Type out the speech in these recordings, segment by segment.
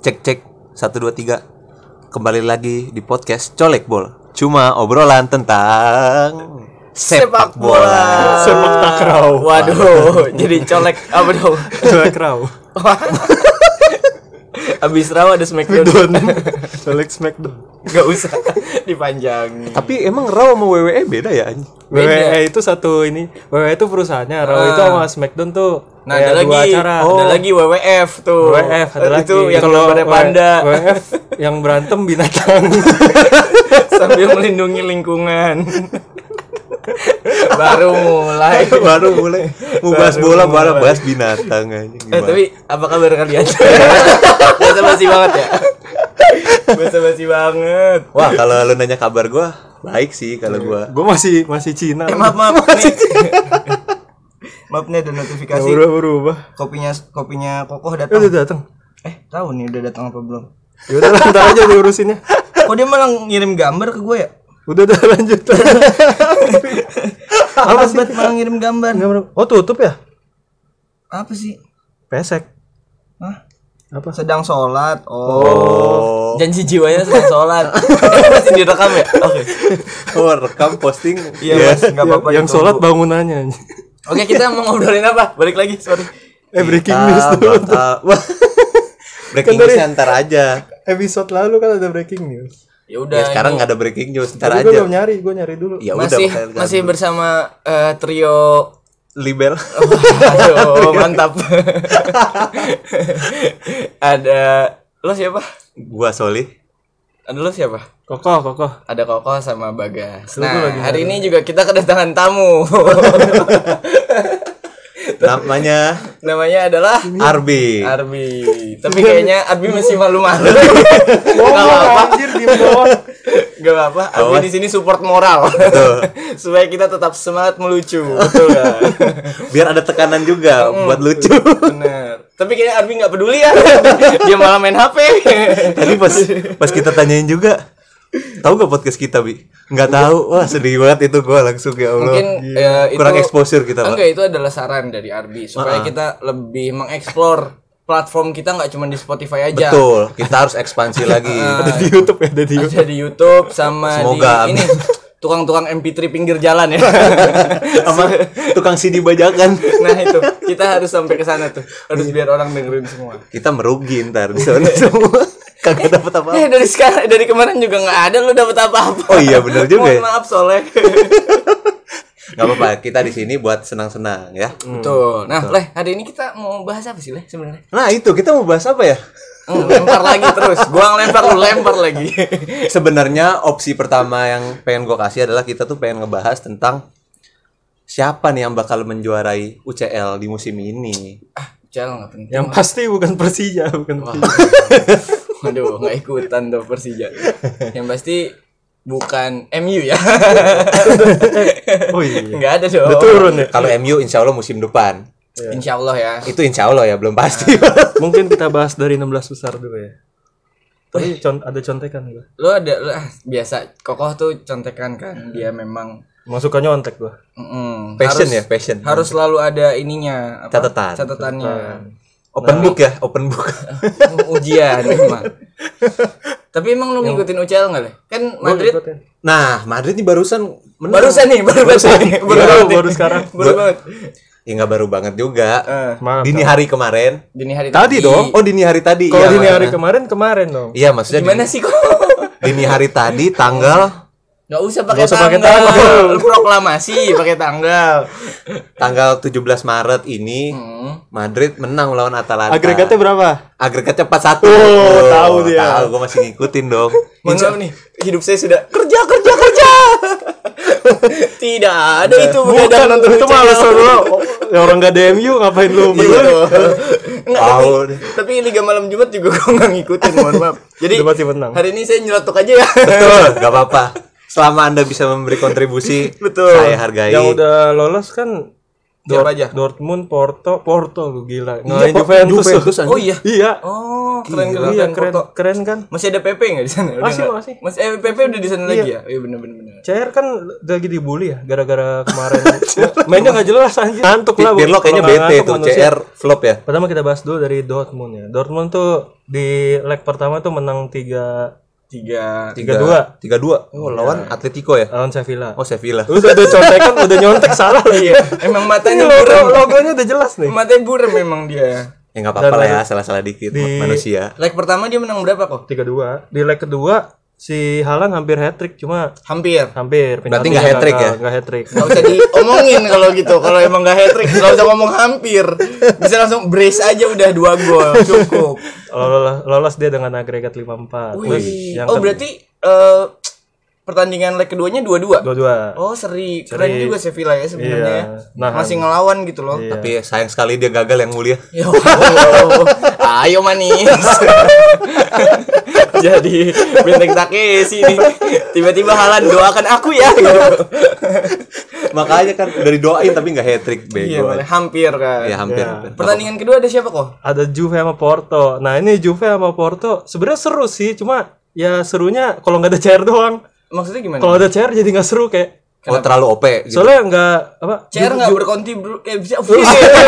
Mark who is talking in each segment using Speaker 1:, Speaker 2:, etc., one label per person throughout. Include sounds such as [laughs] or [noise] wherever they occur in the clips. Speaker 1: cek cek satu dua tiga kembali lagi di podcast colek bola cuma obrolan tentang sepak bola
Speaker 2: Sepak
Speaker 1: [laughs]
Speaker 2: takraw.
Speaker 3: Waduh, jadi colek apa dong?
Speaker 2: Colek raw.
Speaker 3: Abis raw ada smackdown.
Speaker 2: Don. Colek smackdown.
Speaker 3: Gak usah [laughs] dipanjangin.
Speaker 1: tapi emang raw sama WWE beda ya anjing?
Speaker 3: Beda. Ah.
Speaker 2: WWE E itu satu ini. WWE itu perusahaannya, raw itu sama smackdown tuh.
Speaker 3: Nah,
Speaker 2: kayak
Speaker 3: ada
Speaker 2: Ya, dua
Speaker 3: lagi,
Speaker 2: acara.
Speaker 3: ada lagi WWF tuh.
Speaker 2: WWF ada lagi.
Speaker 3: Oh. Itu yang
Speaker 2: Kalau
Speaker 3: pada
Speaker 2: [laughs]
Speaker 3: panda
Speaker 2: WWF yang berantem [laughs] binatang.
Speaker 3: sambil melindungi lingkungan. [laughs] Baru mulai.
Speaker 1: baru mulai mau bahas
Speaker 3: Baru
Speaker 1: bola
Speaker 3: mulai.
Speaker 1: baru bahas binatang anjing.
Speaker 3: Eh,
Speaker 1: Gimana?
Speaker 3: tapi apa kabar [laughs] kalian? Bahasa basi banget ya. Bahasa basi banget.
Speaker 1: wah kalau lu nanya kabar gua baik sih kalau gua
Speaker 2: Gue masih masih Cina.
Speaker 3: Eh, maaf maaf. nih. maaf nih ada notifikasi.
Speaker 2: Berubah berubah.
Speaker 3: Kopinya kopinya kokoh
Speaker 2: Ya udah
Speaker 3: datang.
Speaker 2: datang.
Speaker 3: Eh, tahu nih udah datang apa belum?
Speaker 2: Ya
Speaker 3: [laughs]
Speaker 2: udah lah, ntar aja diurusinnya.
Speaker 3: Kok dia malah ngirim gambar ke gue ya?
Speaker 2: Udah udah [laughs] lanjut.
Speaker 3: Apa sih? malah ngirim gambar.
Speaker 2: oh tutup ya?
Speaker 3: Apa sih?
Speaker 2: Pesek.
Speaker 3: Hah?
Speaker 2: Apa?
Speaker 3: Sedang sholat. Oh.
Speaker 2: Iya.
Speaker 1: oh
Speaker 3: Janji jiwanya sedang sholat. [laughs] Masih direkam ya? Oke.
Speaker 1: oh rekam posting
Speaker 3: Iya, Mas, enggak
Speaker 2: Yang-
Speaker 3: apa-apa.
Speaker 2: yang
Speaker 3: ditunggu.
Speaker 2: sholat bangunannya. anjing.
Speaker 3: Oke, kita mau ngobrolin apa? Balik lagi, sorry.
Speaker 2: Eh breaking news
Speaker 1: Ah,
Speaker 2: tuh.
Speaker 1: bak- ah, wah. [laughs] breaking
Speaker 2: Kan dari-
Speaker 1: news ntar aja
Speaker 2: Episode lalu kan ada breaking
Speaker 3: Ya
Speaker 2: news.
Speaker 1: Ya,
Speaker 3: udah.
Speaker 1: sekarang nggak ada breaking news ntar
Speaker 2: Iya. Tapi gue
Speaker 1: aja
Speaker 2: belum nyari, gue nyari dulu.
Speaker 1: ya udah
Speaker 3: masih
Speaker 1: makanya-
Speaker 3: masih bersama eh, trio
Speaker 1: libel
Speaker 3: [laughs] Aduh, mantap. ada lo siapa?
Speaker 1: [laughs] gua Soli
Speaker 3: Ada lo siapa?
Speaker 2: Kokoh, kokoh.
Speaker 3: Ada Koko sama Bagas.
Speaker 2: Lu
Speaker 3: Nah,
Speaker 2: tuh lagi
Speaker 3: hari ini juga kita kedatangan tamu. [laughs]
Speaker 1: namanya
Speaker 3: Namanya adalah
Speaker 1: Arbi
Speaker 3: Arbi. Tapi kayaknya Arbi masih malu-malu. Gak apa-apa.
Speaker 2: anjir di bawah.
Speaker 3: Gak apa-apa. Arbi
Speaker 1: Awas.
Speaker 3: di sini support moral. [laughs] Supaya kita tetap semangat melucu. Betul
Speaker 1: [laughs]
Speaker 3: gak?
Speaker 1: biar ada tekanan juga buat [laughs] lucu
Speaker 3: Bener. Tapi kayaknya Arbi nggak peduli ya. [laughs] Dia malah main
Speaker 1: [laughs]
Speaker 3: HP.
Speaker 1: tadi pas pas kita tanyain juga tahu gak podcast kita bi nggak tahu wah sedih banget itu gua langsung ya allah
Speaker 3: mungkin
Speaker 1: Gila.
Speaker 3: ya, itu
Speaker 1: kurang exposure kita pak Ah.
Speaker 3: enggak itu adalah saran dari Arbi supaya kita lebih mengeksplor platform kita nggak cuma di Spotify aja
Speaker 1: betul kita harus ekspansi [laughs] lagi
Speaker 2: Ada di YouTube ya, ada di YouTube.
Speaker 3: ada di YouTube sama
Speaker 1: Semoga,
Speaker 3: di ini tukang-tukang MP3 pinggir jalan
Speaker 1: [laughs]
Speaker 3: ya
Speaker 1: sama tukang CD bajakan
Speaker 3: nah itu kita harus sampai ke sana tuh
Speaker 1: Iya.
Speaker 3: harus biar orang dengerin semua
Speaker 1: kita merugi ntar di [laughs] sana semua kagak dapat apa
Speaker 3: eh dari sekarang dari kemarin juga nggak ada lu dapet apa-apa
Speaker 1: Oh iya, bener juga ya.
Speaker 3: [laughs] mohon maaf
Speaker 1: [laughs]
Speaker 3: soleh
Speaker 1: nggak apa-apa kita di sini buat senang-senang ya
Speaker 3: betul nah leh hari ini kita mau bahas apa sih leh sebenarnya
Speaker 1: nah itu kita mau bahas apa ya
Speaker 3: Hmm, lempar lagi terus gua ngelempar lu lempar lagi [laughs]
Speaker 1: sebenarnya opsi pertama yang pengen gue kasih adalah kita tuh pengen ngebahas tentang siapa nih yang bakal menjuarai UCL di musim ini
Speaker 3: ah jalan nggak penting
Speaker 2: Yang pasti bukan Persija, bukan Persija.
Speaker 3: Waduh, nggak ikutan tuh
Speaker 1: [laughs]
Speaker 3: Persija. Yang pasti bukan MU ya.
Speaker 2: Oh iya.
Speaker 3: Nggak ada dong.
Speaker 2: Udah turun ya.
Speaker 1: kalau MU insya Allah musim depan
Speaker 3: Insya Allah ya.
Speaker 1: itu insya Allah ya belum pasti
Speaker 2: Mungkin kita bahas dari 16 besar dulu ya. Tapi con- ada contekan gua.
Speaker 3: Lo ada lo, ah, biasa kokoh tuh contekan kan. Dia memang
Speaker 2: Masukan nyontek gua.
Speaker 3: mm,
Speaker 1: Hmm. passion
Speaker 3: harus,
Speaker 1: ya passion
Speaker 3: Harus selalu ada ininya. apa,
Speaker 1: Catatan.
Speaker 3: Catatannya.
Speaker 1: open book ya open
Speaker 2: [laughs]
Speaker 1: book
Speaker 3: Oh, Ujian memang. Tapi emang
Speaker 2: Iya.
Speaker 3: lu ngikutin UCL nggak leh? Kan Madrid
Speaker 2: Ikutin.
Speaker 1: nah Madrid nih barusan menang
Speaker 3: barusan nih, baru barusan nih, baru
Speaker 2: Iya, Baru,
Speaker 3: banget nih.
Speaker 2: baru sekarang.
Speaker 3: Baru banget.
Speaker 1: ya nggak baru banget juga
Speaker 3: Eh,
Speaker 2: Maaf.
Speaker 1: dini hari kemarin
Speaker 3: dini hari
Speaker 2: Tadi dong.
Speaker 1: oh dini hari tadi Iya,
Speaker 2: Kalau dini hari
Speaker 1: maksudnya.
Speaker 2: kemarin kemarin dong.
Speaker 1: iya maksudnya
Speaker 3: Gimana
Speaker 1: dini,
Speaker 3: sih kok?
Speaker 1: dini hari tadi tanggal
Speaker 3: Gak usah pakai
Speaker 2: Nggak usah pakai
Speaker 3: tanggal. Lu proklamasi pakai tanggal.
Speaker 1: tanggal 17 Maret ini
Speaker 3: Hmm.
Speaker 1: Madrid menang lawan Atalanta.
Speaker 2: Agregatnya berapa?
Speaker 1: agregatnya 4-1. Oh,
Speaker 2: tahu dia.
Speaker 1: Tahu gua masih ngikutin
Speaker 2: [laughs]
Speaker 1: dong.
Speaker 3: Mohon maaf nih, hidup saya sudah kerja kerja kerja. Tidak ada itu
Speaker 2: Bukan
Speaker 3: begadang
Speaker 2: untuk itu
Speaker 3: UCL.
Speaker 2: malas lo. Ya orang gak ada MU ngapain lu?
Speaker 3: Iya dong. Nggak, tapi,
Speaker 1: Tahu.
Speaker 3: tapi Liga Malam Jumat juga gue nggak ngikutin, mohon
Speaker 2: [laughs]
Speaker 3: maaf. Jadi
Speaker 2: Udah pasti menang.
Speaker 3: hari ini saya nyelotok aja
Speaker 2: [laughs]
Speaker 3: ya.
Speaker 1: Betul, gak apa-apa.
Speaker 2: [laughs]
Speaker 1: Selama Anda bisa memberi kontribusi,
Speaker 3: Betul.
Speaker 1: saya hargai.
Speaker 2: Yang udah lolos kan Dort-
Speaker 4: Siapa aja?
Speaker 2: Dortmund, Porto, Porto lu
Speaker 1: Iya,
Speaker 2: gila. Ngalahin
Speaker 1: Pak.
Speaker 2: Juventus. tuh.
Speaker 1: Juventus, anjing.
Speaker 3: Oh iya.
Speaker 2: Iya.
Speaker 3: Oh, keren keren.
Speaker 2: iya,
Speaker 3: keren,
Speaker 2: keren,
Speaker 3: foto.
Speaker 2: keren kan?
Speaker 3: Masih ada PP nggak di sana? Udah
Speaker 2: Masih,
Speaker 3: nggak?
Speaker 2: masih.
Speaker 3: Masih eh, PP udah di sana lagi ya? Iya bener bener bener.
Speaker 2: CR kan lagi dibully ya gara-gara kemarin mainnya nggak jelas anjir. Ngantuk lah.
Speaker 1: Pirlo
Speaker 2: kalau
Speaker 1: kayaknya
Speaker 2: nggak
Speaker 1: bete
Speaker 2: ngantuk
Speaker 1: tuh
Speaker 2: manusia.
Speaker 1: CR flop ya.
Speaker 2: Pertama kita bahas dulu dari Dortmund ya. Dortmund tuh di leg pertama tuh menang 3
Speaker 3: Tiga.
Speaker 2: 3-2
Speaker 1: 3-2. Oh,
Speaker 2: Iya.
Speaker 1: lawan Atletico ya.
Speaker 2: lawan Sevilla.
Speaker 1: Oh, Sevilla.
Speaker 2: Udah udah [laughs] contekan, udah nyontek salah lagi.
Speaker 3: Emang
Speaker 2: Ini
Speaker 3: matanya
Speaker 2: logo,
Speaker 3: burem.
Speaker 2: logonya udah jelas nih.
Speaker 3: Matanya burem memang dia.
Speaker 1: Ya enggak apa-apa lah ya, salah-salah dikit manusia.
Speaker 3: Leg pertama dia menang berapa kok?
Speaker 2: 3-2. Di leg kedua si Halan hampir hat trick cuma
Speaker 3: Hampir.
Speaker 2: hampir
Speaker 1: Berarti nggak hat-trick ya?
Speaker 2: Enggak hat trick.
Speaker 3: Gak usah
Speaker 2: [laughs]
Speaker 3: diomongin kalau gitu. Kalau emang gak hat trick, gak usah ngomong hampir. Bisa langsung brace aja udah dua gol, cukup.
Speaker 2: Lolos, lolos dia dengan agregat 5-4. Terus
Speaker 3: Wih.
Speaker 2: yang
Speaker 3: Oh berarti eh, pertandingan leg keduanya dua-dua.
Speaker 2: kedua
Speaker 3: Oh seri, keren juga Sevilla ya sebenarnya.
Speaker 2: Iya.
Speaker 3: ya.
Speaker 2: Nah,
Speaker 3: Masih ngelawan gitu loh.
Speaker 2: Iya.
Speaker 1: Tapi sayang sekali dia gagal yang
Speaker 2: [laughs]
Speaker 1: mulia.
Speaker 3: Ya Allah. Ayo manis. Jadi benteng Takeshi ini tiba-tiba halan doakan aku ya. gitu.
Speaker 1: Makanya kan udah didoain tapi nggak hat trick
Speaker 3: Iya,
Speaker 1: bego.
Speaker 3: boleh. hampir kan.
Speaker 1: Ya
Speaker 2: Iya.
Speaker 1: hampir.
Speaker 3: Pertandingan kedua ada siapa kok?
Speaker 2: ada Juve sama Porto. Nah ini Juve sama Porto sebenarnya seru sih, cuma ya serunya kalau nggak ada CR doang.
Speaker 3: Maksudnya gimana?
Speaker 2: Kalau ada CR jadi nggak seru kayak.
Speaker 1: Oh, terlalu OP gitu.
Speaker 2: Soalnya nggak apa?
Speaker 3: CR nggak berkontribusi eh bisa [laughs] bisa.
Speaker 1: Iya.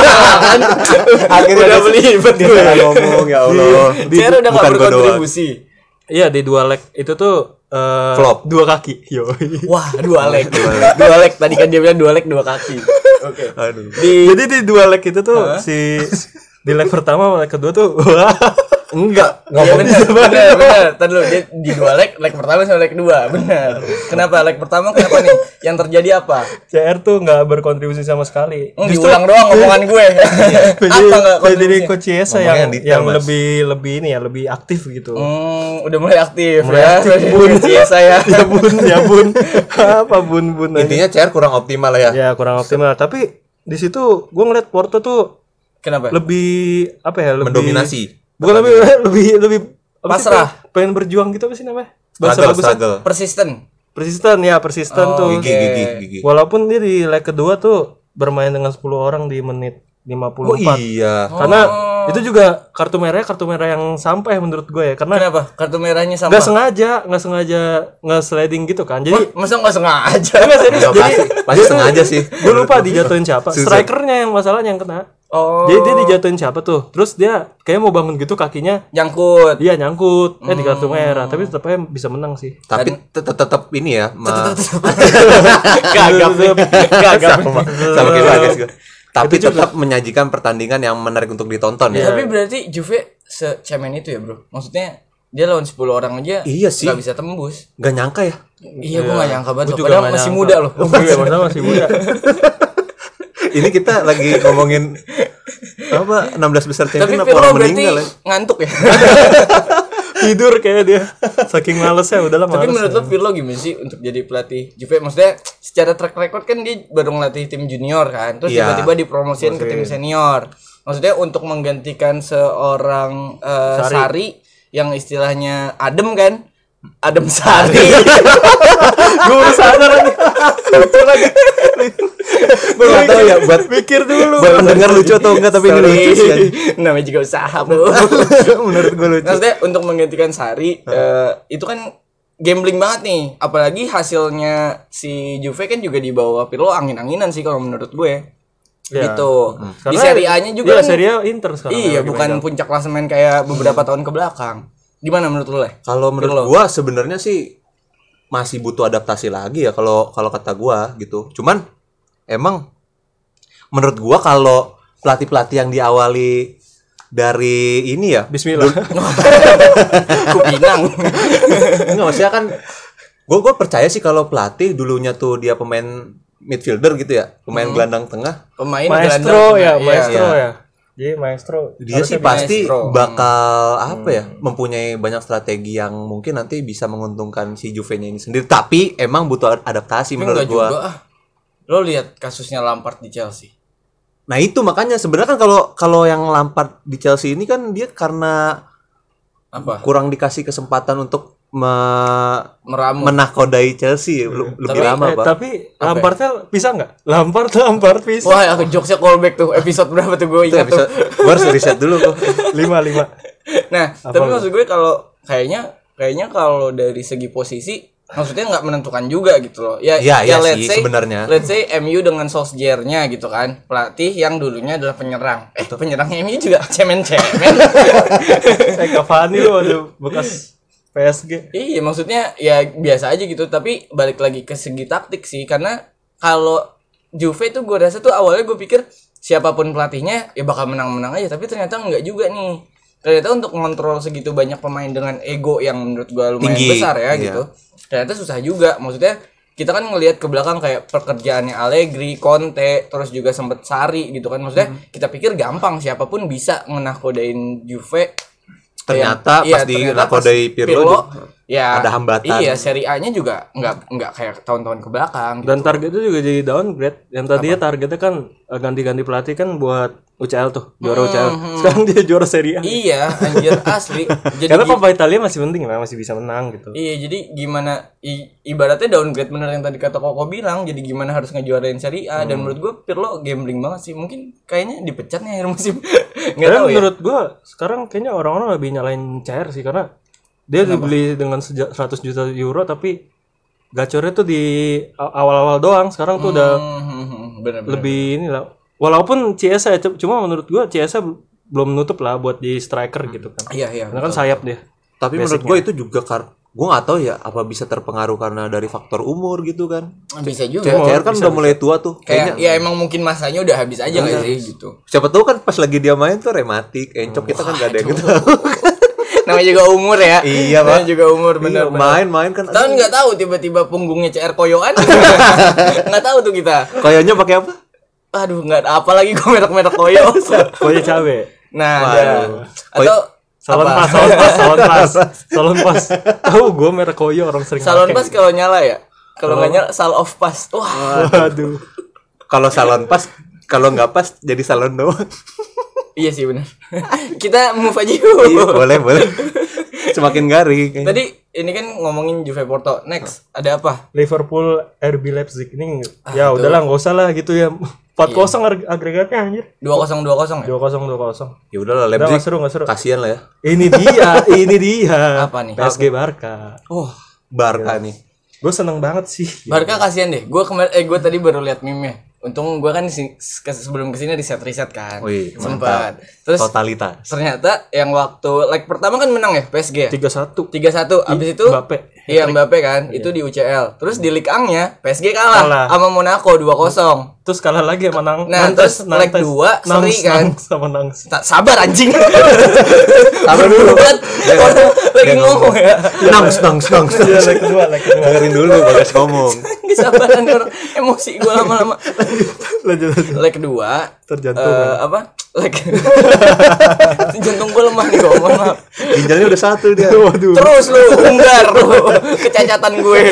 Speaker 1: Akhirnya
Speaker 3: udah
Speaker 1: ada-
Speaker 3: belibet
Speaker 1: Dia salah ngomong ya Allah.
Speaker 3: CR udah
Speaker 1: Bukan
Speaker 3: nggak
Speaker 1: gua doang.
Speaker 3: berkontribusi.
Speaker 2: Iya di dua leg itu tuh eh,
Speaker 1: Flop.
Speaker 2: dua kaki. Yoi. [laughs]
Speaker 3: Wah, dua leg. dua leg tadi kan dia bilang dua leg dua kaki. Oke.
Speaker 1: Aduh.
Speaker 3: Di
Speaker 2: Jadi di dua leg itu tuh si di leg pertama sama leg kedua tuh wah, [laughs] enggak
Speaker 3: Iya benar, benar, benar. Tadi dulu dia di dua leg, leg pertama sama leg kedua, benar. Kenapa leg pertama kenapa nih? Yang terjadi apa?
Speaker 2: CR tuh nggak berkontribusi sama sekali.
Speaker 3: Hmm,
Speaker 2: [laughs]
Speaker 3: diulang
Speaker 2: iya.
Speaker 3: doang omongan gue. apa nggak kontribusinya?
Speaker 2: Federico Chiesa
Speaker 1: Ngomongnya
Speaker 2: yang
Speaker 1: yang detail,
Speaker 2: yang
Speaker 1: Mas.
Speaker 2: lebih lebih ini ya lebih aktif gitu.
Speaker 3: Hmm, udah mulai aktif
Speaker 2: Mulai
Speaker 3: ya. [laughs]
Speaker 2: aktif, Bun.
Speaker 3: Iya saya.
Speaker 2: [laughs] ya bun ya bun [laughs] apa bun bun aja.
Speaker 1: Intinya CR kurang optimal lah ya.
Speaker 2: ya kurang optimal tapi di situ gue ngeliat Porto tuh
Speaker 3: Kenapa?
Speaker 2: lebih apa ya lebih
Speaker 1: Mendominasi.
Speaker 2: bukan lebih [laughs] lebih lebih apa sih,
Speaker 3: Pasrah.
Speaker 2: pengen- pengen berjuang gitu apa sih namanya bahasa
Speaker 1: Struggle, Oh,
Speaker 2: bagusnya
Speaker 1: struggle.
Speaker 3: Persisten.
Speaker 2: persisten ya persisten tuh
Speaker 1: Gigi, gigi, gigi.
Speaker 2: walaupun dia di leg kedua tuh bermain dengan 10 orang di menit 54
Speaker 1: Oh iya.
Speaker 2: karena itu juga kartu merahnya kartu merah yang sampai menurut gue ya karena
Speaker 3: Kenapa? Kartu merahnya
Speaker 2: nggak
Speaker 3: sampah.
Speaker 2: sengaja nggak sengaja nggak sliding gitu kan jadi
Speaker 3: Masa nggak sengaja?
Speaker 2: Enggak serius.
Speaker 1: Ya, pasti, pasti sengaja sih.
Speaker 2: Gue lupa dijatuhin siapa. Strikernya yang masalahnya yang kena.
Speaker 3: Oh,
Speaker 2: Jadi dia dijatuhin siapa tuh? Terus dia kayak mau bangun gitu kakinya
Speaker 3: nyangkut.
Speaker 2: dia nyangkut eh di kartu merah tapi tetap aja bisa menang sih.
Speaker 1: Tapi tetap tetap ini ya.
Speaker 2: Ah.
Speaker 1: ma-
Speaker 2: [laughs]
Speaker 3: Gagap. nih. Gagap.
Speaker 1: sama sama kayak Bagas gua. Tapi tetap menyajikan pertandingan yang menarik untuk ditonton
Speaker 2: Iya,
Speaker 1: ya.
Speaker 3: Tapi berarti Juve secemen itu ya, Bro. Maksudnya dia lawan 10 orang aja
Speaker 1: Iya sih.
Speaker 3: nggak bisa tembus.
Speaker 1: Gak nyangka ya.
Speaker 3: Iya, gua gak nyangka banget. loh.
Speaker 2: Gua juga
Speaker 3: Padahal
Speaker 2: nggak
Speaker 3: masih
Speaker 2: nyangka.
Speaker 3: muda loh.
Speaker 2: [laughs] Iya, padahal masih muda.
Speaker 1: Ini kita lagi ngomongin apa 16 besar
Speaker 3: Tapi
Speaker 1: champion apa
Speaker 3: Pirlo
Speaker 1: orang
Speaker 3: berarti
Speaker 1: meninggal ya.
Speaker 3: ngantuk ya.
Speaker 2: Tidur kayak dia. [laughs] Saking malesnya udah lama.
Speaker 3: Tapi menurut lo Pirlo gimana sih untuk jadi pelatih Juve? Maksudnya secara track record kan dia baru ngelatih tim junior kan, terus
Speaker 1: Iya.
Speaker 3: tiba-tiba dipromosiin ke tim senior. Maksudnya untuk menggantikan seorang eh, Sari. yang istilahnya adem kan? Adem
Speaker 1: [laughs]
Speaker 3: Sari.
Speaker 2: gue udah sadar nih. Lucu lagi.
Speaker 1: Gue nggak tahu ya buat
Speaker 2: Mikir dulu.
Speaker 1: buat pendengar lucu atau enggak tapi ini lucu sih. kan? anjing.
Speaker 3: [laughs] Namanya juga usaha, Bro.
Speaker 1: [laughs] Menurut gue lucu.
Speaker 3: Maksudnya untuk menggantikan Sari eh, itu kan gambling banget nih. Apalagi hasilnya si Juve kan juga di bawah Pirlo angin-anginan sih kalau menurut gue.
Speaker 2: Iya.
Speaker 3: Gitu. Di
Speaker 2: Karena-
Speaker 3: Serie A-nya juga
Speaker 2: Iya,
Speaker 3: kan-
Speaker 2: Serie A Inter sekarang.
Speaker 3: Iya,
Speaker 2: lagi
Speaker 3: bukan
Speaker 2: main.
Speaker 3: puncak klasemen kayak beberapa tahun ke belakang. Gimana menurut lu, Leh?
Speaker 1: Kalau menurut gua sebenarnya sih masih butuh adaptasi lagi ya kalau kalau kata gua gitu. Cuman emang menurut gua kalau pelatih-pelatih yang diawali dari ini ya
Speaker 2: Bismillah.
Speaker 3: Kupinang.
Speaker 1: Enggak maksudnya kan gue gue percaya sih kalau pelatih dulunya tuh dia pemain midfielder gitu ya pemain gelandang tengah
Speaker 3: Pemain gelandang.
Speaker 2: maestro ya,
Speaker 3: Iya.
Speaker 2: maestro ya. Jadi maestro.
Speaker 1: dia sih pasti
Speaker 3: Hmm.
Speaker 1: bakal apa ya mempunyai banyak strategi yang mungkin nanti bisa menguntungkan si Juve-nya ini sendiri tapi emang butuh adaptasi
Speaker 3: Tapi
Speaker 1: menurut
Speaker 3: enggak
Speaker 1: gua
Speaker 3: juga ah. Lo lihat kasusnya Lampard di Chelsea.
Speaker 1: nah itu makanya sebenarnya kan kalau kalau yang Lampard di Chelsea ini kan dia karena
Speaker 3: Apa?
Speaker 1: kurang dikasih kesempatan untuk me-
Speaker 3: meramu
Speaker 1: menakodai Chelsea ya, lu, lebih
Speaker 3: Hmm. Tapi-
Speaker 1: lama
Speaker 2: Eh,
Speaker 1: pak
Speaker 2: tapi Lampardnya bisa nggak? Lampard, Lampard bisa.
Speaker 3: wah aku jokesnya callback tuh episode berapa tuh gue
Speaker 1: itu
Speaker 3: ingat tuh
Speaker 1: episode gue harus riset dulu
Speaker 3: [laughs]
Speaker 1: kok
Speaker 2: Lima lima.
Speaker 3: nah tapi maksud gue kalau kayaknya kayaknya kalau dari segi posisi maksudnya nggak menentukan juga gitu loh ya
Speaker 1: Iya, iya
Speaker 3: let's
Speaker 1: sih,
Speaker 3: say-
Speaker 1: sebenarnya.
Speaker 3: let's say MU dengan Solskjaer-nya gitu kan pelatih yang dulunya adalah penyerang eh penyerangnya MU juga cemen cemen [laughs]
Speaker 2: Eh Cavani lu ada bekas PSG.
Speaker 3: Iya, maksudnya ya biasa aja gitu, tapi balik lagi ke segi taktik sih karena kalau Juve tuh gue rasa tuh awalnya gue pikir siapapun pelatihnya ya bakal menang-menang aja, tapi ternyata enggak juga nih. Ternyata untuk ngontrol segitu banyak pemain dengan ego yang menurut gue lumayan
Speaker 1: Tinggi,
Speaker 3: besar
Speaker 1: iya.
Speaker 3: ya gitu. Ternyata susah juga. Maksudnya kita kan ngelihat ke belakang kayak pekerjaannya Allegri, Conte, terus juga sempet Sari gitu kan. Maksudnya
Speaker 1: Hmm.
Speaker 3: kita pikir gampang siapapun bisa ngenakodain Juve
Speaker 1: ternyata
Speaker 3: Iya,
Speaker 1: pas di
Speaker 3: ternyata
Speaker 1: nakodai
Speaker 3: pas
Speaker 1: Pirlo, juga-
Speaker 3: ya,
Speaker 1: ada hambatan.
Speaker 3: Iya, seri A-nya juga nggak nggak kayak tahun-tahun ke belakang. gitu.
Speaker 2: Dan targetnya juga jadi downgrade. Yang tadinya targetnya kan eh, ganti-ganti pelatih kan buat UCL tuh, juara UCL. Sekarang dia juara Serie A.
Speaker 3: Hmm, Iya, anjir
Speaker 1: [laughs]
Speaker 3: asli. Jadi
Speaker 2: Karena
Speaker 3: gi-
Speaker 2: Coppa Italia masih penting, memang masih bisa menang gitu.
Speaker 3: Iya, jadi gimana i- ibaratnya downgrade bener yang tadi kata Koko bilang, jadi gimana harus ngejuarain seri A dan
Speaker 1: Hmm.
Speaker 3: menurut gue Pirlo gambling banget sih. Mungkin kayaknya dipecat nih akhir musim. [laughs] Enggak
Speaker 2: Karena
Speaker 3: tahu ya.
Speaker 2: menurut gua sekarang kayaknya orang-orang lebih nyalain CR sih karena dia dibeli dengan seja- 100 juta euro tapi gacornya tuh di a- awal-awal doang. Sekarang
Speaker 1: eh,
Speaker 2: tuh udah
Speaker 3: Hmm, bener, bener.
Speaker 2: lebih ini lah. Walaupun CS ya, cu- cuma menurut gua CS bel- belum nutup lah buat di striker gitu kan.
Speaker 3: Iya, iya.
Speaker 2: Karena kan sayap dia.
Speaker 1: tapi menurut gue itu juga kar gue nggak tahu ya apa bisa terpengaruh karena dari faktor umur gitu kan
Speaker 3: Bisa juga.
Speaker 1: CR kan udah mulai tua tuh kayaknya
Speaker 3: Kayak ya emang mungkin masanya udah habis aja nggak sih gitu. [laughs]
Speaker 1: siapa tahu kan pas lagi dia main tuh rematik encok kita kan gak ada yang tahu
Speaker 3: Namanya juga umur ya.
Speaker 1: Iya, Pak.
Speaker 3: Namanya juga umur bener. bener.
Speaker 1: main-main kan
Speaker 3: Tahun nggak tahu tiba-tiba punggungnya CR koyoan. Nggak tahu tuh kita.
Speaker 1: kayaknya pakai apa
Speaker 3: Aduh, nggak ada apa lagi kok merek-merek koyo.
Speaker 2: Pokoknya cabe.
Speaker 3: Nah, ada.
Speaker 1: Koyo-
Speaker 3: atau
Speaker 2: Salon
Speaker 3: apa?
Speaker 2: pas, salon pas, salon [laughs] pas. Salon pas. Tahu gua merek Koyo orang sering
Speaker 3: Salon
Speaker 2: pakai.
Speaker 3: pas kalau nyala ya. Kalau nggak nyala, sal off pas. Wah,
Speaker 2: Waduh.
Speaker 1: kalau salon pas kalau nggak pas jadi salon doang
Speaker 3: iya sih benar. kita move aja
Speaker 1: Iya,
Speaker 3: yuk.
Speaker 1: boleh boleh semakin garing
Speaker 3: Tadi ini kan ngomongin Juve Porto. Next, ada apa?
Speaker 2: Liverpool RB Leipzig ini
Speaker 3: Ah,
Speaker 2: ya udahlah nggak usah lah gitu
Speaker 3: Iya.
Speaker 2: ya 4-0 ag- agregatnya anjir
Speaker 3: 2020 ya?
Speaker 2: 2-0 2-0
Speaker 1: ya udahlah
Speaker 2: udah nggak
Speaker 1: Leipzig
Speaker 2: seru nggak seru
Speaker 1: kasihan lah ya
Speaker 2: ini dia ini dia
Speaker 3: Apa nih?
Speaker 2: PSG Barca
Speaker 3: Wah,
Speaker 1: Barca
Speaker 2: Iya.
Speaker 1: nih
Speaker 2: gue seneng banget sih
Speaker 3: Barca kasihan deh. Gue kemarin eh gue tadi baru lihat meme-nya. Untung gue kan si- ke- sebelum kesini riset-riset kan.
Speaker 1: Wih,
Speaker 3: Sempat. Terus
Speaker 1: totalitas
Speaker 3: ternyata yang waktu leg pertama kan menang ya PSG ya?
Speaker 2: 3-1
Speaker 3: 3-1 abis itu
Speaker 2: Mbappe.
Speaker 3: Iya Mbappe kan itu di UCL terus di Ligue Ang-nya PSG kalah,
Speaker 2: Kalah.
Speaker 3: sama Monaco 2-0
Speaker 2: terus kalah lagi sama Nang
Speaker 3: Nah, terus leg dua, seri kan?
Speaker 2: Nangs sama Nangs
Speaker 3: Sa- sabar
Speaker 2: [laughs]
Speaker 3: anjing
Speaker 1: Sabar [laughs] dulu.
Speaker 3: Buat- orang lagi ngomong ya [laughs]
Speaker 1: Nang, nang, nang,
Speaker 2: iya leg kedua leg kedua
Speaker 1: Dengerin dulu Bagas ngomong.
Speaker 3: kesabaran orang emosi gue lama-lama
Speaker 2: lanjut lanjut
Speaker 3: leg kedua
Speaker 2: Terjantung,
Speaker 3: eh, apa leg [laughs] jantung gue lemah nih kok mohon maaf
Speaker 1: Ginjalnya udah satu dia.
Speaker 2: [laughs] waduh
Speaker 3: terus lu unggar lu kecacatan gue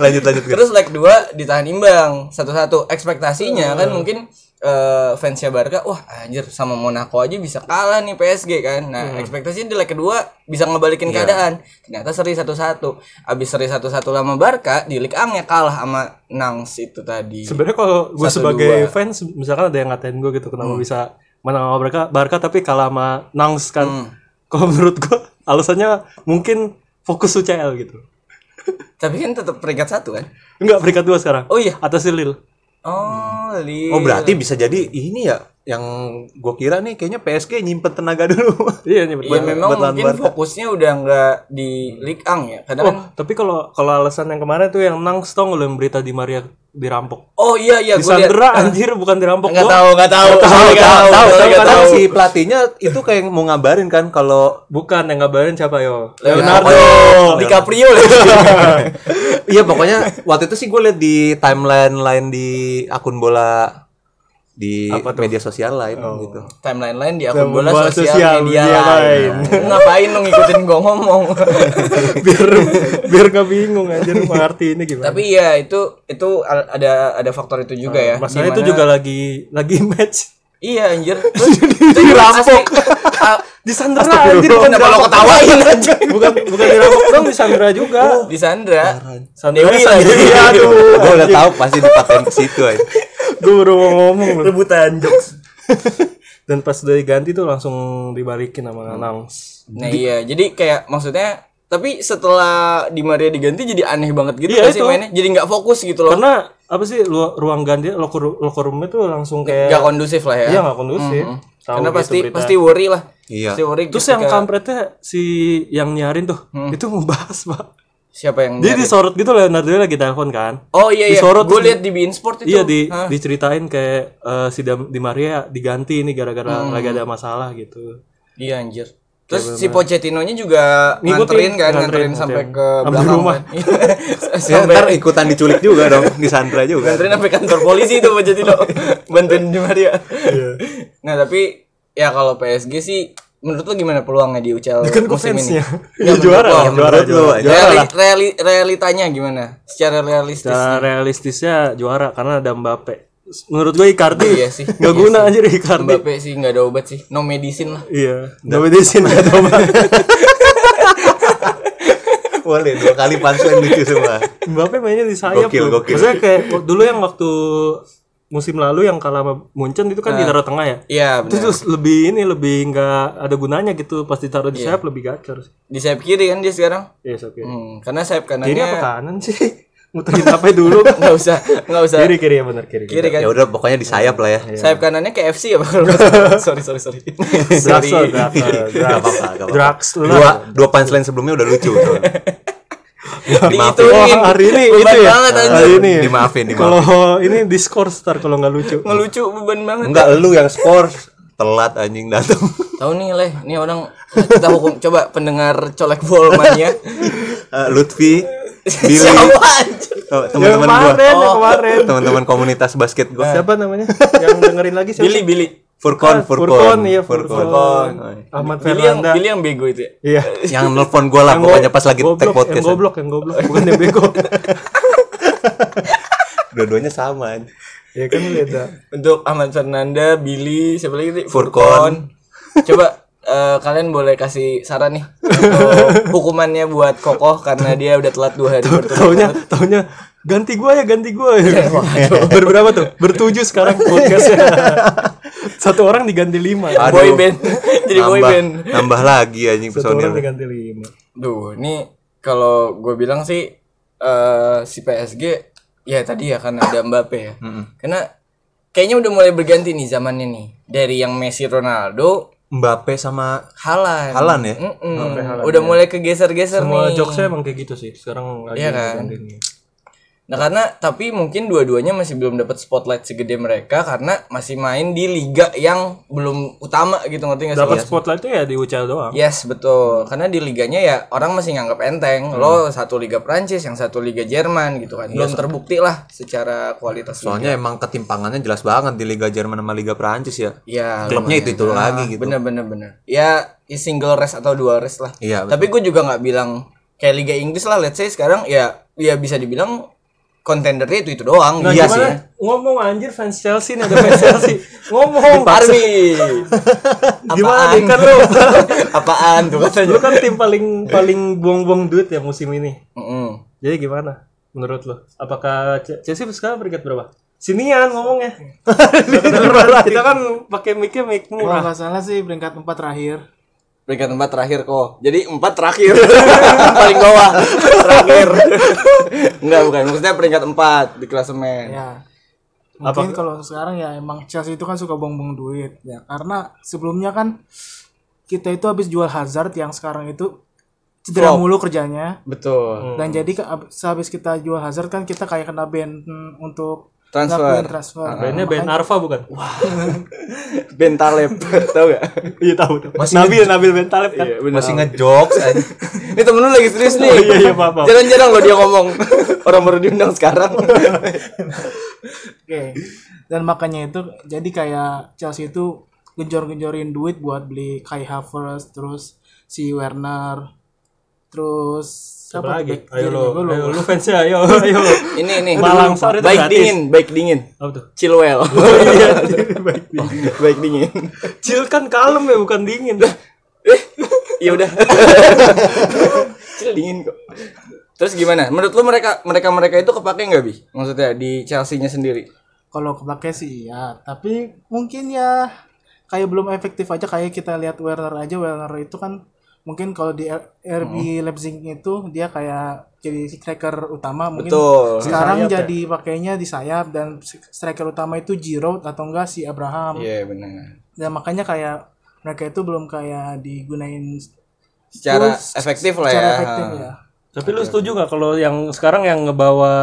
Speaker 1: Lanjut lanjut guys.
Speaker 3: terus leg 2 ditahan imbang satu-satu ekspektasinya kan mungkin eh, fansnya Barca wah anjir sama Monaco aja bisa kalah nih PSG kan nah ekspektasinya di leg kedua bisa ngebalikin keadaan ternyata seri satu-satu abis seri satu-satu lama Barca di Ligue Ang ya kalah sama Nangs itu tadi
Speaker 2: Gitu. sebenarnya kalau gue
Speaker 3: Satu,
Speaker 2: sebagai
Speaker 3: dua.
Speaker 2: fans misalkan ada yang ngatain gue gitu kenapa bisa menang sama Barca Barca tapi kalah sama Nangs kan [laughs] kalau menurut gue alasannya mungkin fokus UCL gitu
Speaker 3: tapi kan tetap peringkat satu kan
Speaker 2: enggak peringkat dua sekarang
Speaker 3: oh iya
Speaker 2: atas Lille
Speaker 3: oh
Speaker 2: Iya.
Speaker 3: Lille.
Speaker 1: Oh berarti bisa jadi ini ya yang gue kira nih kayaknya PSG nyimpen tenaga dulu.
Speaker 2: iya nih
Speaker 3: ya
Speaker 2: buat
Speaker 3: memang
Speaker 1: buat lawan
Speaker 3: mungkin
Speaker 1: Barca.
Speaker 3: fokusnya udah nggak di Ligue Ang ya kadang
Speaker 2: oh tapi kalau kalau alasan yang kemarin tuh yang Nangs tau nggak lo yang berita di Maria dirampok
Speaker 3: oh iya iya gue lihat
Speaker 2: Disandera anjir bukan dirampok
Speaker 3: nggak
Speaker 2: gua
Speaker 3: tahu nggak tahu
Speaker 1: Tahu
Speaker 3: nggak
Speaker 1: Iya, tahu tahu
Speaker 3: sorry, nggak
Speaker 1: tahu si pelatihnya itu kayak mau ngabarin kan kalau
Speaker 2: bukan yang ngabarin siapa yo
Speaker 3: Leonardo, DiCaprio lagi.
Speaker 1: iya pokoknya waktu itu sih gue liat di timeline lain di akun bola di media sosial lain [laughs] gitu.
Speaker 3: [laughs] Timeline lain di akun
Speaker 2: Bola
Speaker 3: bola sosial,
Speaker 2: sosial
Speaker 3: media,
Speaker 2: media
Speaker 3: lain. Ngapain lu ngikutin gua
Speaker 2: [laughs]
Speaker 3: ngomong?
Speaker 2: biar biar nggak bingung [laughs] anjir mengerti ini gimana
Speaker 3: Tapi ya itu itu al- ada ada faktor itu juga ya.
Speaker 2: Nah, masalahnya
Speaker 3: Dimana-
Speaker 2: itu juga lagi [laughs] lagi match
Speaker 3: Iya
Speaker 2: [laughs]
Speaker 3: anjir. Terus dirampok.
Speaker 2: Disandra anjir bukan
Speaker 3: Kenapa lo
Speaker 2: dirampok. [laughs]
Speaker 3: ketawain aja?
Speaker 2: Bukan bukan dirampok dong, disandra juga.
Speaker 3: Di Sandra.
Speaker 2: Sandra
Speaker 3: Dewi
Speaker 2: Sandra.
Speaker 3: lagi.
Speaker 2: Iya, aduh.
Speaker 1: Gue udah tahu pasti dipatain ke situ eh. aja.
Speaker 2: Gue baru mau ngomong loh.
Speaker 3: Rebutan jokes.
Speaker 2: [laughs] Dan pas udah diganti tuh langsung dibalikin sama announce.
Speaker 3: Nah iya, jadi kayak maksudnya tapi setelah Di Maria diganti jadi aneh banget gitu
Speaker 2: Iya,
Speaker 3: gak sih
Speaker 2: itu. Kan-
Speaker 3: mainnya. Jadi nggak fokus gitu loh.
Speaker 2: Karena apa sih lu- ruang ganti locker locker roomnya tuh langsung kayak
Speaker 3: Gak kondusif lah ya.
Speaker 2: Iya nggak kondusif. Tahu
Speaker 3: Karena
Speaker 2: gitu
Speaker 3: pasti
Speaker 2: berita.
Speaker 3: pasti worry lah.
Speaker 1: Iya.
Speaker 3: Pasti worry gitu.
Speaker 2: Terus
Speaker 3: ketika- Mm.
Speaker 2: yang kampretnya si yang nyarin tuh itu mau bahas pak.
Speaker 3: siapa yang
Speaker 2: Dia disorot gitu Leonardo lagi telepon kan.
Speaker 3: Oh iya iya.
Speaker 2: disorot
Speaker 3: Gue
Speaker 2: terus-
Speaker 3: lihat di Bein Sport Oh, itu.
Speaker 2: Iya di diceritain kayak eh, si Dam- Di Maria diganti ini gara-gara
Speaker 3: Mm.
Speaker 2: lagi ada masalah gitu.
Speaker 3: Iya anjir. Terus si Pochettino-nya juga nganterin kan, nganterin, sampai ke
Speaker 2: Sampai
Speaker 3: belakang
Speaker 2: rumah.
Speaker 3: kan.
Speaker 2: [laughs]
Speaker 3: Iya.
Speaker 1: Ya, [laughs] ntar ikutan diculik juga dong, disandra juga.
Speaker 3: Nganterin sampai kantor polisi itu
Speaker 2: [laughs]
Speaker 3: Pochettino bantuin Di Maria.
Speaker 2: Iya.
Speaker 3: Nah, tapi ya kalau PSG sih menurut lo gimana peluangnya di UCL
Speaker 2: Kan gue
Speaker 3: musim ini?
Speaker 2: fansnya. Ya, juara, lah,
Speaker 1: Menurut
Speaker 2: juara,
Speaker 1: lu
Speaker 2: juara.
Speaker 1: aja.
Speaker 3: Reali, reali- realitanya gimana? Secara realistis.
Speaker 2: Secara realistisnya juara karena ada Mbappe. Menurut gue Icardi
Speaker 3: Iya sih,
Speaker 2: nggak guna anjir Icardi.
Speaker 3: Mbappe sih nggak ada obat sih. No medicine lah.
Speaker 2: Iya, nggak bedesin nggak tahu
Speaker 3: [laughs]
Speaker 2: Mbak.
Speaker 1: [laughs] Boleh dua kali punchline lucu semua.
Speaker 2: Mbappe mainnya di sayap
Speaker 1: Gokil,
Speaker 2: loh.
Speaker 1: gokil.
Speaker 2: Maksudnya kayak w- dulu yang waktu musim lalu yang kalah sama Munchen itu kan ditaruh tengah ya.
Speaker 3: Iya,
Speaker 2: Itu
Speaker 3: benar.
Speaker 2: terus lebih ini lebih nggak ada gunanya gitu pas ditaruh di sayap lebih gacor.
Speaker 3: Di sayap kiri kan dia sekarang.
Speaker 2: Yes, oke.
Speaker 3: Iya. Hmm, karena sayap
Speaker 2: Kiri apa
Speaker 3: kanannya
Speaker 2: kanan sih? [laughs] Muterin apa
Speaker 3: [laughs]
Speaker 2: dulu?
Speaker 3: nggak usah nggak usah
Speaker 2: kiri Iya. kiri ya benar kiri.
Speaker 3: kiri kan.
Speaker 1: Ya udah pokoknya di sayap lah ya.
Speaker 3: Sayap kanannya KFC ya Bang?
Speaker 2: [laughs]
Speaker 3: sorry sorry sorry. sorry.
Speaker 2: Draxler,
Speaker 1: [laughs]
Speaker 2: Draxler,
Speaker 1: Gak
Speaker 2: Draxler.
Speaker 1: apa-apa, gak apa-apa.
Speaker 2: Draxler.
Speaker 1: Dua dua punchline sebelumnya udah [laughs] lucu. tuh. Dimaafin.
Speaker 3: Dihitungin.
Speaker 2: Ya, Wah, hari ini
Speaker 3: beban
Speaker 2: itu ya.
Speaker 3: banget anjir.
Speaker 2: Hari ini. ya?
Speaker 1: Dimaafin, dimaafin.
Speaker 2: Kalau ini Discord star kalau nggak lucu.
Speaker 3: Ngelucu beban banget.
Speaker 2: Hmm?
Speaker 1: Enggak lu yang skor telat anjing datang.
Speaker 3: Tahu nih leh, nih orang kita hukum coba pendengar colek bol
Speaker 2: [laughs]
Speaker 3: mania.
Speaker 1: Eh, Lutfi, Billy,
Speaker 3: Siapa anjir?
Speaker 1: oh,
Speaker 2: Yang
Speaker 1: teman-teman gua.
Speaker 2: kemarin, yang kemarin.
Speaker 1: Teman-teman komunitas basket gua.
Speaker 3: Eh.
Speaker 2: Siapa namanya? [laughs] Yang dengerin lagi siapa?
Speaker 3: Billy Billy. Eh,
Speaker 1: Furkon,
Speaker 2: Furkon,
Speaker 1: Furkon,
Speaker 2: iya Furkon. Ahmad
Speaker 3: Billy yang
Speaker 2: Fernanda.
Speaker 3: Billy yang bego itu ya.
Speaker 2: Iya.
Speaker 1: Yang nelpon gua lah pokoknya pas lagi
Speaker 2: Goblok,
Speaker 1: tag podcast. ya.
Speaker 2: Yang goblok, yang goblok, bukan yang
Speaker 1: [laughs]
Speaker 2: bego.
Speaker 1: Dua-duanya sama. anjing.
Speaker 2: Iya kan beda.
Speaker 3: Untuk Ahmad Fernanda, Billy, siapa lagi tadi?
Speaker 1: Furkon.
Speaker 3: Furkon. Coba eh, kalian boleh kasih saran nih untuk hukumannya buat Kokoh karena dia udah telat dua hari berturut-turut.
Speaker 2: Taunya, taunya ganti gua ya, ganti gua
Speaker 1: Iya,
Speaker 2: ya. Berberapa tuh? Bertujuh sekarang
Speaker 1: [laughs]
Speaker 2: podcastnya. Satu orang diganti lima.
Speaker 1: Aduh.
Speaker 3: Boy band. [laughs] Jadi boy
Speaker 1: Nambah-
Speaker 3: band.
Speaker 1: Nambah lagi anjing
Speaker 2: Satu orang
Speaker 1: personil.
Speaker 2: diganti lima.
Speaker 3: Duh, ini kalau gue bilang sih eh si PSG ya tadi ya kan ada Mbappe ya. Karena kayaknya udah mulai berganti nih zamannya nih. Dari yang Messi, Ronaldo,
Speaker 1: Mbappe sama
Speaker 3: Haaland.
Speaker 1: Haaland ya?
Speaker 3: Mm-mm. Udah mulai kegeser-geser
Speaker 2: Semua
Speaker 3: nih.
Speaker 2: jokesnya emang kayak gitu sih. Sekarang lagi
Speaker 3: Iya kan?
Speaker 2: diganti lima.
Speaker 3: Nah, karena tapi mungkin dua-duanya masih belum dapat spotlight segede mereka karena masih main di liga yang belum utama gitu ngerti gak sih?
Speaker 1: Iya
Speaker 2: Dapat spotlight tuh ya di UCL doang.
Speaker 3: Yes, betul. Karena di liganya ya orang masih nganggap
Speaker 2: Hmm.
Speaker 3: enteng. Lo satu liga Prancis, yang satu liga Jerman gitu kan. Belum terbukti lah secara kualitas.
Speaker 1: Soalnya emang ketimpangannya jelas banget di Liga Jerman sama Liga Perancis ya.
Speaker 3: Ya,
Speaker 1: Klubnya itu-itu lagi gitu.
Speaker 3: bener bener bener. Ya single race atau dua race lah.
Speaker 1: Iya, betul.
Speaker 3: Tapi gue juga nggak bilang kayak liga Inggris lah. Let's say sekarang ya ya bisa dibilang kontendernya itu itu doang.
Speaker 2: Nah,
Speaker 1: Iya
Speaker 2: gimana?
Speaker 1: sih ya.
Speaker 2: Ngomong anjir fans Chelsea nih ada fans Chelsea. Ngomong.
Speaker 3: Parmi.
Speaker 2: [laughs] Gimana
Speaker 3: Apaan?
Speaker 2: nih kan lu?
Speaker 3: [laughs] Apaan tuh
Speaker 2: [laughs]
Speaker 3: katanya?
Speaker 2: Lu kan tim paling paling buang-buang duit ya musim ini.
Speaker 3: Mm-mm.
Speaker 2: Jadi gimana menurut lo? Apakah C- Chelsea sekarang peringkat berapa? Sinian ngomongnya. kita kan pakai mic-nya mic
Speaker 4: Kalau
Speaker 2: murah.
Speaker 4: nggak salah sih peringkat empat terakhir.
Speaker 3: Peringkat empat terakhir kok. Jadi empat terakhir. [laughs] Paling bawah. Terakhir. Enggak bukan. Maksudnya peringkat empat di klasemen.
Speaker 4: Ya. Mungkin kalau sekarang ya emang Chelsea itu kan suka buang-buang duit ya. Karena sebelumnya kan kita itu habis jual Hazard yang sekarang itu cedera mulu kerjanya.
Speaker 3: Betul.
Speaker 2: Hmm.
Speaker 4: Dan jadi ke- ab- sehabis kita jual Hazard kan kita kayak kena ban hmm, untuk
Speaker 3: Transfer.
Speaker 4: ngelakuin transfer.
Speaker 2: Bandnya band Arfa bukan?
Speaker 3: Bentaleb. Tahu gak?
Speaker 2: Iya tahu. tahu. Nabil Nabil Ben Taleb kan.
Speaker 1: Masih ngejokes anjing. Oh,
Speaker 3: Ini temen lu lagi serius nih.
Speaker 2: iya, iya, maaf, maaf.
Speaker 3: Jarang-jarang loh dia ngomong. Orang baru diundang sekarang.
Speaker 1: [laughs]
Speaker 4: Oke. Dan makanya itu jadi kayak Chelsea itu genjor-genjorin duit buat beli Kai Havertz, terus si Werner, terus
Speaker 2: Siapa
Speaker 4: tuh
Speaker 2: lagi?
Speaker 4: back
Speaker 2: Ayo
Speaker 4: kirinya?
Speaker 2: lo,
Speaker 4: Gua lupa.
Speaker 2: ayo lu fansnya, ayo, [laughs] ayo.
Speaker 3: Ini ini.
Speaker 2: Malang Sar itu
Speaker 3: baik
Speaker 2: gratis.
Speaker 3: dingin, baik dingin.
Speaker 2: Apa tuh?
Speaker 3: Chilwell. Oh,
Speaker 2: Oh iya,
Speaker 3: [laughs]
Speaker 2: baik dingin.
Speaker 3: baik dingin.
Speaker 2: Chill kan kalem ya, bukan dingin.
Speaker 3: Ya udah. Chill dingin kok. Terus gimana? Menurut lu mereka mereka mereka itu kepake nggak bi? Maksudnya di Chelsea-nya sendiri?
Speaker 4: Kalau kepake sih iya, tapi mungkin ya kayak belum efektif aja kayak kita lihat Werner aja Werner itu kan mungkin kalau di R- RB Leipzig itu dia kayak jadi striker utama mungkin
Speaker 3: Betul.
Speaker 2: Sayap
Speaker 4: sekarang
Speaker 2: ya?
Speaker 4: jadi pakainya di sayap dan striker utama itu Giroud atau enggak si Abraham.
Speaker 3: Iya benar.
Speaker 4: Dan makanya kayak mereka itu belum kayak digunain
Speaker 3: Secara
Speaker 4: Terus,
Speaker 3: efektif lah
Speaker 4: secara
Speaker 3: ya.
Speaker 4: efektif ya.
Speaker 2: Tapi lu setuju nggak kalau yang sekarang yang ngebawa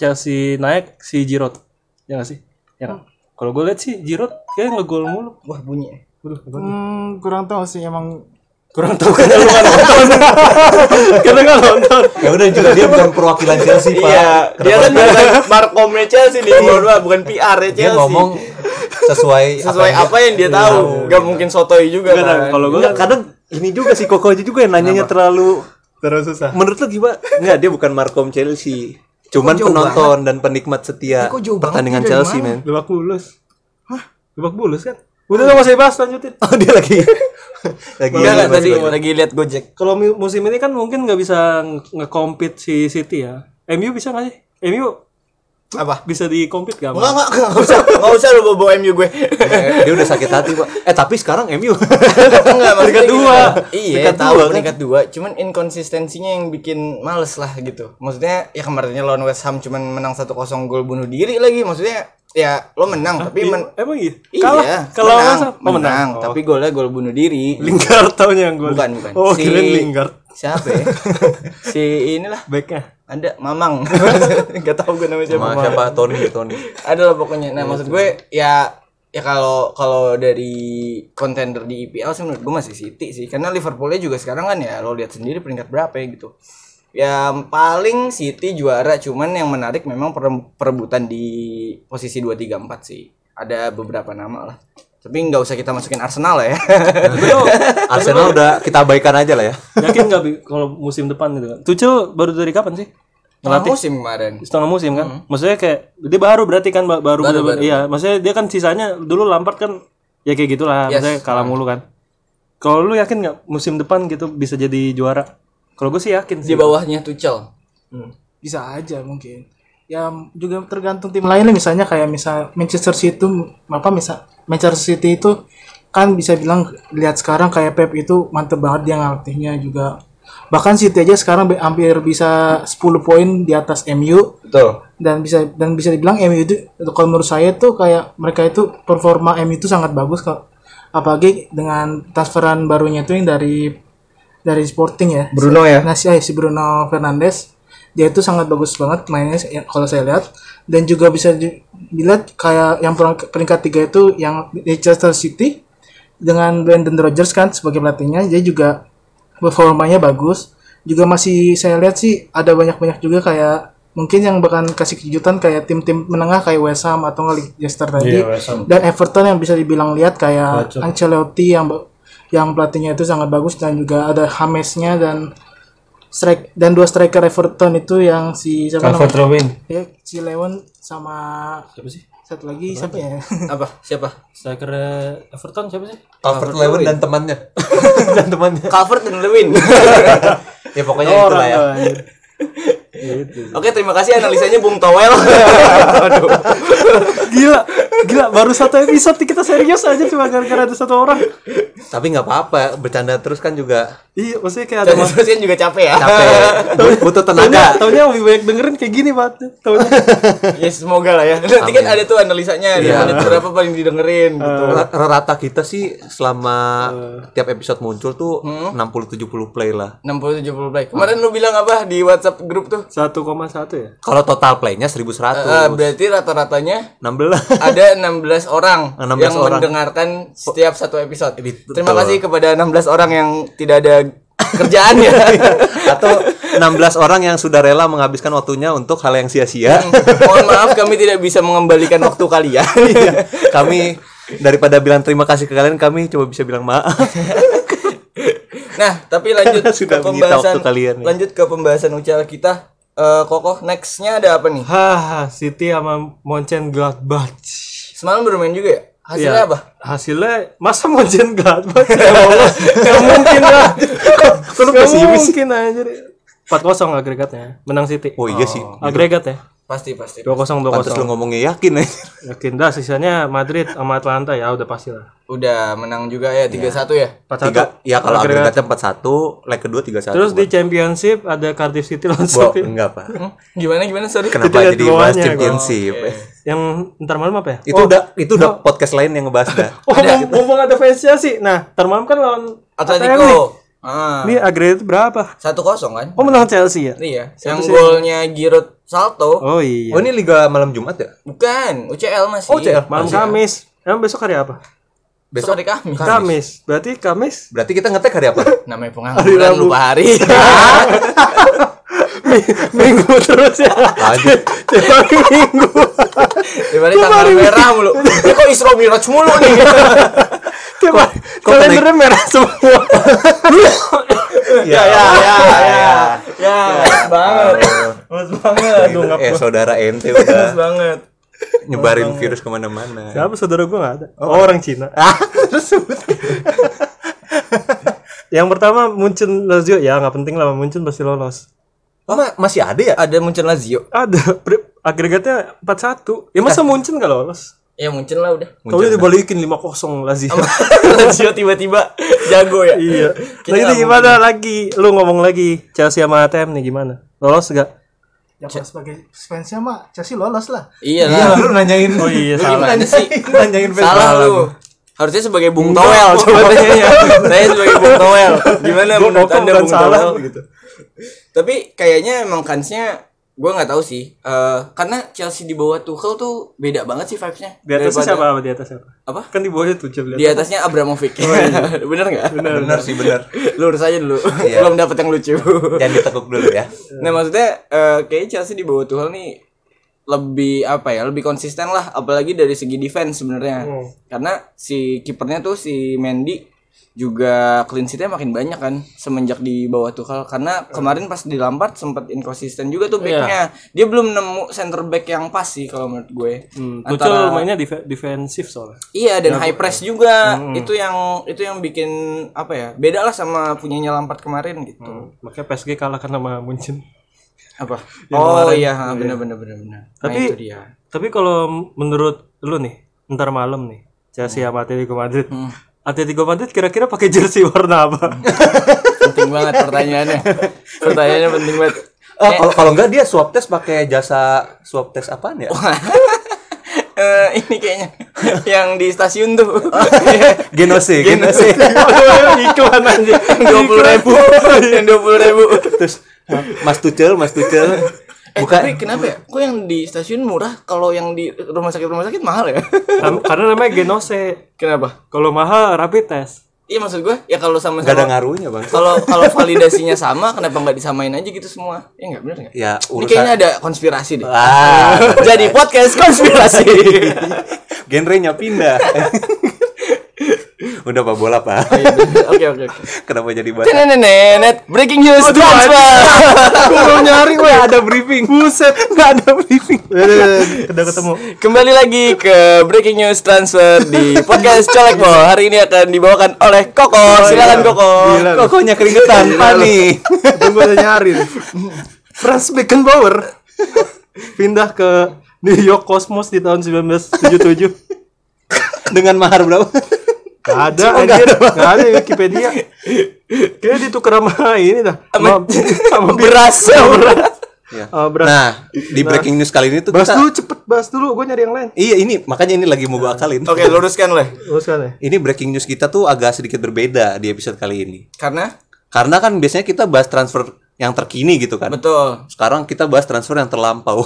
Speaker 2: Chelsea naik si Giroud? Ya nggak sih? Ya nggak? Kalau gue lihat sih Giroud kayak ngegol mulu.
Speaker 3: Wah bunyi.
Speaker 2: Waduh, gua-
Speaker 4: Hmm, kurang tahu sih emang
Speaker 2: kurang tahu
Speaker 1: kan
Speaker 2: karena lu nggak nonton. karena nggak nonton.
Speaker 1: ya udah juga dia bukan perwakilan Chelsea pak
Speaker 3: Iya, dia kan bukan markomnya Chelsea nih, mohon maaf, bukan PR
Speaker 1: dia
Speaker 3: ya Chelsea.
Speaker 1: ngomong sesuai
Speaker 3: sesuai
Speaker 1: yang
Speaker 3: apa ya? Iya, yang dia tahu, nggak mungkin sotoy juga
Speaker 2: Nggak,
Speaker 3: kan.
Speaker 2: Kalau gue
Speaker 1: Enggak, kadang ini juga si Koko aja juga yang nanyanya terlalu
Speaker 2: terus susah.
Speaker 1: menurut lu gimana? Enggak, dia bukan markom Chelsea. Cuman penonton dan penikmat setia pertandingan Chelsea, men.
Speaker 2: Lebak bulus. Hah? Lebak bulus kan? Udah nggak usah bahas lanjutin.
Speaker 1: Oh, dia lagi [laughs] lagi
Speaker 3: Iya nggak
Speaker 1: lagi-
Speaker 3: tadi lagi lihat Gojek.
Speaker 2: Kalau mu- musim ini kan mungkin nggak bisa nge- nge-compete si City ya. MU bisa nggak sih? MU
Speaker 3: Apa?
Speaker 2: bisa di-compete nggak?
Speaker 3: Enggak, enggak, enggak usah. Enggak usah lu bawa MU gue.
Speaker 1: dia udah sakit hati, Pak. Eh, tapi sekarang MU.
Speaker 3: Enggak,
Speaker 1: [laughs]
Speaker 3: maksudnya
Speaker 1: Peringkat dua.
Speaker 3: gini. Iya,
Speaker 1: Peringkat
Speaker 3: tahu
Speaker 1: dua, kan?
Speaker 3: peringkat dua, cuman inkonsistensinya yang bikin males lah gitu. Maksudnya ya kemarinnya lawan West Ham cuman menang 1-0 gol bunuh diri lagi, maksudnya ya lo menang tapi men
Speaker 2: Emang iya?
Speaker 3: iya,
Speaker 2: Kalah? Kalau oh,
Speaker 3: menang,
Speaker 2: masa?
Speaker 3: menang, tapi golnya gol bunuh diri.
Speaker 2: Lingard taunya yang gue
Speaker 3: Bukan, bukan.
Speaker 2: Oh kirain Lingard
Speaker 3: Siapa
Speaker 2: [laughs]
Speaker 3: ya? si inilah
Speaker 2: Backnya
Speaker 3: ada
Speaker 2: [laughs]
Speaker 3: Mamang. Enggak tahu gue namanya siapa.
Speaker 1: Sama siapa? Tony, Tony.
Speaker 3: Adalah pokoknya. Nah, maksud gue ya ya kalau kalau dari kontender di IPL sih menurut gue masih City sih. Karena Liverpoolnya juga sekarang kan ya lo lihat sendiri peringkat berapa ya gitu. Yang paling City juara cuman yang menarik memang per- perebutan di posisi 2 3 4 sih. Ada beberapa nama lah. Tapi nggak usah kita masukin Arsenal [laughs] lah ya.
Speaker 1: Arsenal udah kita abaikan aja lah ya.
Speaker 2: Yakin nggak Bi, kalau musim depan gitu kan Tuchel baru dari kapan sih?
Speaker 3: Tengah musim kemarin.
Speaker 2: Setengah musim kan? Maksudnya kayak Dia baru berarti kan ba- Baru, baru, Iya maksudnya dia kan sisanya Dulu Lampard kan Ya kayak gitulah
Speaker 3: Yes.
Speaker 2: Maksudnya kalah mulu kan Kalau lu yakin nggak musim depan gitu bisa jadi juara? Kalau gue sih yakin
Speaker 3: Di
Speaker 2: sih
Speaker 3: bawahnya Tuchel.
Speaker 4: bisa aja mungkin ya juga tergantung tim lainnya misalnya kayak misal Manchester City itu apa misal Manchester City itu kan bisa bilang lihat sekarang kayak Pep itu mantep banget dia ngelatihnya juga bahkan City aja sekarang be- hampir bisa 10 poin di atas MU
Speaker 3: Betul.
Speaker 4: dan bisa dan bisa dibilang MU itu kalau menurut saya tuh kayak mereka itu performa MU itu sangat bagus kok apalagi dengan transferan barunya itu yang dari dari Sporting ya
Speaker 3: Bruno ya.
Speaker 4: Nah, si, eh, si Bruno Fernandes dia itu sangat bagus banget mainnya ya, kalau saya lihat dan juga bisa di- dilihat kayak yang per- peringkat tiga itu yang Leicester City dengan Brendan Rodgers kan sebagai pelatihnya dia juga performanya bagus juga masih saya lihat sih ada banyak-banyak juga kayak mungkin yang bahkan kasih kejutan kayak tim-tim menengah kayak West Ham atau nggak Leicester tadi dan Everton yang bisa dibilang lihat kayak Ancelotti yang ba- yang pelatihnya itu sangat bagus dan juga ada Hamesnya dan strike dan dua striker Everton itu yang si siapa
Speaker 2: Kan
Speaker 4: namanya?
Speaker 2: Robin
Speaker 4: Ya, si Lewon sama
Speaker 2: Siapa sih?
Speaker 4: satu lagi siapa ya?
Speaker 3: [laughs] Apa? Siapa?
Speaker 2: Striker eh, Everton siapa [laughs] sih?
Speaker 1: Calvert Lewin dan temannya. dan temannya.
Speaker 3: Calvert dan Lewin.
Speaker 1: [laughs] Ya pokoknya itulah ya. Gitu.
Speaker 3: Oke, terima kasih analisanya Bung Towel.
Speaker 1: [laughs]
Speaker 2: Gila, gila baru satu episode kita serius aja cuma gara-gara ada satu orang.
Speaker 1: Tapi nggak apa-apa, bercanda terus kan juga
Speaker 2: Iya, maksudnya kayak ada
Speaker 3: Dan terusnya juga capek ya.
Speaker 1: capek. Bu- Butuh
Speaker 2: Taunya,
Speaker 1: tenaga.
Speaker 2: taunya lebih banyak dengerin kayak gini banget. [laughs] Taunya.
Speaker 3: Ya semoga lah ya. Nanti kan ada tuh analisanya di
Speaker 1: Iya. Uh.
Speaker 3: menit berapa paling didengerin gitu.
Speaker 1: Ra- Rata kita sih selama tiap episode muncul tuh 60-70 play lah.
Speaker 3: 60 70 play. Kemarin lu bilang apa di WhatsApp grup tuh?
Speaker 2: 1,1 ya?
Speaker 1: Kalau total playnya
Speaker 3: Eh,
Speaker 1: 1100.
Speaker 3: berarti rata-ratanya
Speaker 1: 16.
Speaker 3: ada 16
Speaker 1: [laughs]
Speaker 3: orang
Speaker 1: 16
Speaker 3: yang
Speaker 1: orang.
Speaker 3: mendengarkan setiap satu episode.
Speaker 1: Betul.
Speaker 3: Terima kasih kepada 16 orang yang tidak ada [laughs] kerjaan
Speaker 1: [laughs]
Speaker 3: ya.
Speaker 1: [laughs] Atau 16 orang yang sudah rela menghabiskan waktunya untuk hal yang sia-sia.
Speaker 3: Hmm.
Speaker 1: [laughs]
Speaker 3: Mohon maaf kami tidak bisa mengembalikan waktu kalian.
Speaker 1: Iya. kami daripada bilang terima kasih ke kalian, kami coba bisa bilang maaf.
Speaker 3: Nah, tapi
Speaker 1: [laughs]
Speaker 3: lanjut
Speaker 1: Sudah
Speaker 3: ke
Speaker 1: menyita
Speaker 3: pembahasan
Speaker 1: waktu kalian nih.
Speaker 3: lanjut ke pembahasan ucal kita. Eh Kokoh nextnya ada apa nih?
Speaker 2: Hah, City sama Monchen Gladbach.
Speaker 3: Semalam bermain juga ya? Hasilnya
Speaker 2: Iya.
Speaker 3: apa?
Speaker 2: Hasilnya masa Monchen Gladbach ya Allah. Gak mungkin lah. Kok mungkin anjir. 4-0 agregatnya. ya, Menang City.
Speaker 1: Oh iya sih.
Speaker 2: Agregat ya.
Speaker 3: Pasti pasti.
Speaker 2: 2-0
Speaker 1: Pantas lu
Speaker 2: 2-0.
Speaker 1: ngomongnya yakin ya.
Speaker 2: Yakin dah sisanya Madrid sama Atlanta ya udah pastilah.
Speaker 3: Udah menang juga
Speaker 1: Iya.
Speaker 3: ya 3-1 ya.
Speaker 2: 4-1.
Speaker 1: Tiga, ya kalau
Speaker 2: Agregat.
Speaker 1: agregatnya 4-1, leg kedua 3-1.
Speaker 2: Terus di Championship ada Cardiff City
Speaker 1: Bo,
Speaker 2: lawan Sheffield.
Speaker 1: enggak [laughs] apa.
Speaker 3: Hmm? Gimana gimana sorry.
Speaker 1: Kenapa
Speaker 2: Itu lihat
Speaker 1: jadi bahas
Speaker 2: bawahnya, Bang.
Speaker 1: championship?
Speaker 2: Yang ntar malam apa ya?
Speaker 1: Itu udah itu udah podcast lain yang ngebahas [laughs] dah.
Speaker 2: Oh, ngom- ngomong ada fansnya sih. Nah, ntar malam kan lawan ATM nih.
Speaker 3: Atletico. Ah,
Speaker 2: Ini agregat berapa?
Speaker 3: 1-0 kan?
Speaker 2: Oh, menang Chelsea ya?
Speaker 3: Iya, yang golnya Giroud Salto.
Speaker 2: Oh iya.
Speaker 1: Oh ini liga malam Jumat ya?
Speaker 3: Bukan, UCL masih.
Speaker 1: UCL.
Speaker 2: Malam Kamis. Emang besok hari apa?
Speaker 3: Besok hari Kamis.
Speaker 2: Kamis. Berarti Kamis
Speaker 1: Berarti kita ngetek [laughs] hari apa?
Speaker 3: Namanya pengangguran lupa
Speaker 1: [laughs]
Speaker 3: hari.
Speaker 2: minggu terus ya.
Speaker 1: Aduh,
Speaker 2: Tiap hari minggu.
Speaker 3: Daripada tanggal merah mulu. Ini kok Isra Miraj mulu
Speaker 1: [laughs]
Speaker 3: nih.
Speaker 2: Tiap hari. Kalendernya merah semua.
Speaker 1: [laughs] ya ya ya. [laughs]
Speaker 3: ya, banget. Mas banget. Aduh,
Speaker 1: Eh [laughs] saudara MT udah
Speaker 3: banget.
Speaker 1: nyebarin virus kemana-mana.
Speaker 2: Siapa saudara gue nggak ada? Oh, orang [laughs] Cina.
Speaker 1: Terus sebut.
Speaker 2: Yang pertama Munchen Lazio ya nggak penting lah Munchen pasti lolos.
Speaker 1: Ma- masih ada ya?
Speaker 3: Ada muncul Lazio.
Speaker 2: Ada pre- agregatnya 4-1. Ya masa Munchen nggak lolos?
Speaker 3: Ya muncul lah udah.
Speaker 2: Taunya dibalikin 5-0 Lazio.
Speaker 3: [laughs] Lazio tiba-tiba jago ya.
Speaker 2: [laughs] iya. Lagi
Speaker 3: nggak
Speaker 2: nih gimana lagi? Lu ngomong lagi Chelsea sama ATM nih gimana? Lolos gak?
Speaker 4: Ya kalau sebagai fansnya mah Chelsea lolos lah.
Speaker 3: Iya lah.
Speaker 1: Lu nanyain.
Speaker 2: Oh iya salah.
Speaker 3: Gimana sih?
Speaker 1: nanyain
Speaker 3: Salah lu. Harusnya sebagai Bung Toel coba tanya ya. Saya sebagai Bung Toel. Gimana
Speaker 2: Gua
Speaker 3: menurut
Speaker 2: kokoh
Speaker 3: Anda
Speaker 2: bukan
Speaker 3: Bung
Speaker 2: salah,
Speaker 3: Toel gitu. Tapi kayaknya emang kansnya gue nggak tahu sih. Eh, karena Chelsea di bawah Tuchel tuh beda banget sih vibes-nya.
Speaker 2: Di
Speaker 3: Daripada-
Speaker 2: atasnya siapa? Di atas siapa?
Speaker 3: Apa?
Speaker 2: Kan di bawahnya tujuh
Speaker 3: Di atasnya Abramovic. [laughs] bener nggak?
Speaker 1: Benar sih benar.
Speaker 3: Lu urus aja dulu. Belum dapet yang lucu.
Speaker 1: Jangan ditekuk dulu ya.
Speaker 3: nah
Speaker 2: Hmm.
Speaker 3: maksudnya eh, kayaknya Chelsea di bawah Tuchel nih lebih apa ya lebih konsisten lah apalagi dari segi defense sebenarnya
Speaker 2: Hmm.
Speaker 3: karena si kipernya tuh si Mendy juga clean sheet-nya makin banyak kan semenjak di bawah Tuchel
Speaker 2: Hmm.
Speaker 3: karena kemarin pas di Lampard sempat inkonsisten juga
Speaker 2: Iya.
Speaker 3: tuh backnya dia belum nemu center back yang pas sih kalau menurut gue
Speaker 2: Hmm,
Speaker 3: Antara-
Speaker 2: Tuchel mainnya def- defensif soalnya.
Speaker 3: Iya dan high press juga
Speaker 2: Hmm.
Speaker 3: itu yang itu yang bikin apa ya beda lah sama punyanya Lampard kemarin gitu
Speaker 2: Makanya PSG kalah karena sama Munchen.
Speaker 3: apa oh iya benar benar benar benar nah,
Speaker 2: Tapi-
Speaker 3: itu dia
Speaker 2: Tapi kalau menurut lu nih, ntar malam nih, Chelsea sama Atletico Madrid.
Speaker 3: Hmm.
Speaker 2: Atletico Madrid kira-kira pakai jersey warna
Speaker 3: [laughs]
Speaker 2: apa?
Speaker 3: penting banget pertanyaannya pertanyaannya penting banget
Speaker 1: Oh, kalau kalau enggak dia swab test pakai jasa swab test apaan ya?
Speaker 3: [laughs] Eh, ini kayaknya yang di stasiun [laughs] tuh
Speaker 1: Genose, [laughs] genose.
Speaker 2: Aduh, iklan aja.
Speaker 3: dua puluh ribu yang dua puluh ribu
Speaker 1: Terus Mas Tuchel, Mas [laughs] Tuchel. Buka
Speaker 3: tapi kenapa ya kok yang di stasiun murah kalau yang di rumah sakit rumah sakit mahal ya
Speaker 2: Kam- Karena namanya Genose.
Speaker 3: kenapa
Speaker 2: Kalau mahal rapid test.
Speaker 3: iya maksud gue ya kalau sama
Speaker 1: enggak ada
Speaker 3: sama
Speaker 1: ngaruhnya, Bang.
Speaker 3: kalau kalau validasinya sama kenapa nggak disamain aja gitu semua ya nggak bener nggak
Speaker 1: Ya,
Speaker 3: ini
Speaker 1: urusan-
Speaker 3: kayaknya ada konspirasi deh
Speaker 1: Ah,
Speaker 3: jadi podcast [laughs] konspirasi
Speaker 1: genrenya pindah. [laughs] Udah Pak bola, Pak.
Speaker 3: Oh, iya, oke oke oke
Speaker 1: [laughs] Kenapa jadi bahas?
Speaker 3: Tenenenenet, breaking news transfer [laughs]
Speaker 1: Belum nyari gue ada briefing. Buset, enggak ada briefing.
Speaker 2: Udah ketemu.
Speaker 3: kembali lagi ke breaking news transfer di podcast colek Ball. hari ini akan dibawakan oleh
Speaker 2: Oh, iya.
Speaker 3: Koko silakan Koko
Speaker 1: Kokonya keringetan, panik.
Speaker 2: Tunggu udah nyari. Franz
Speaker 3: [laughs]
Speaker 2: Beckenbauer pindah ke New York Cosmos di tahun 1977.
Speaker 1: Dengan mahar berapa?
Speaker 2: Gak Oh, ada anjir, gak ada di Wikipedia. Kayaknya ditukar sama ini dah. [laughs] Sama, sama
Speaker 3: beras
Speaker 2: [laughs]
Speaker 3: Iya.
Speaker 1: Ya.
Speaker 2: Ah, beras.
Speaker 1: Nah, di breaking news kali ini tuh
Speaker 2: bahas
Speaker 1: kita-
Speaker 2: dulu cepet, bahas dulu. Gue nyari yang lain.
Speaker 1: Iya, ini makanya ini lagi mau gue akalin.
Speaker 3: Nah. oke luruskan leh
Speaker 2: Terus kan ya?
Speaker 1: Ini breaking news kita tuh agak sedikit berbeda di episode kali ini.
Speaker 3: karena
Speaker 1: Karena kan biasanya kita bahas transfer yang terkini gitu kan.
Speaker 2: [laughs]
Speaker 3: betul
Speaker 1: Sekarang kita bahas transfer yang terlampau.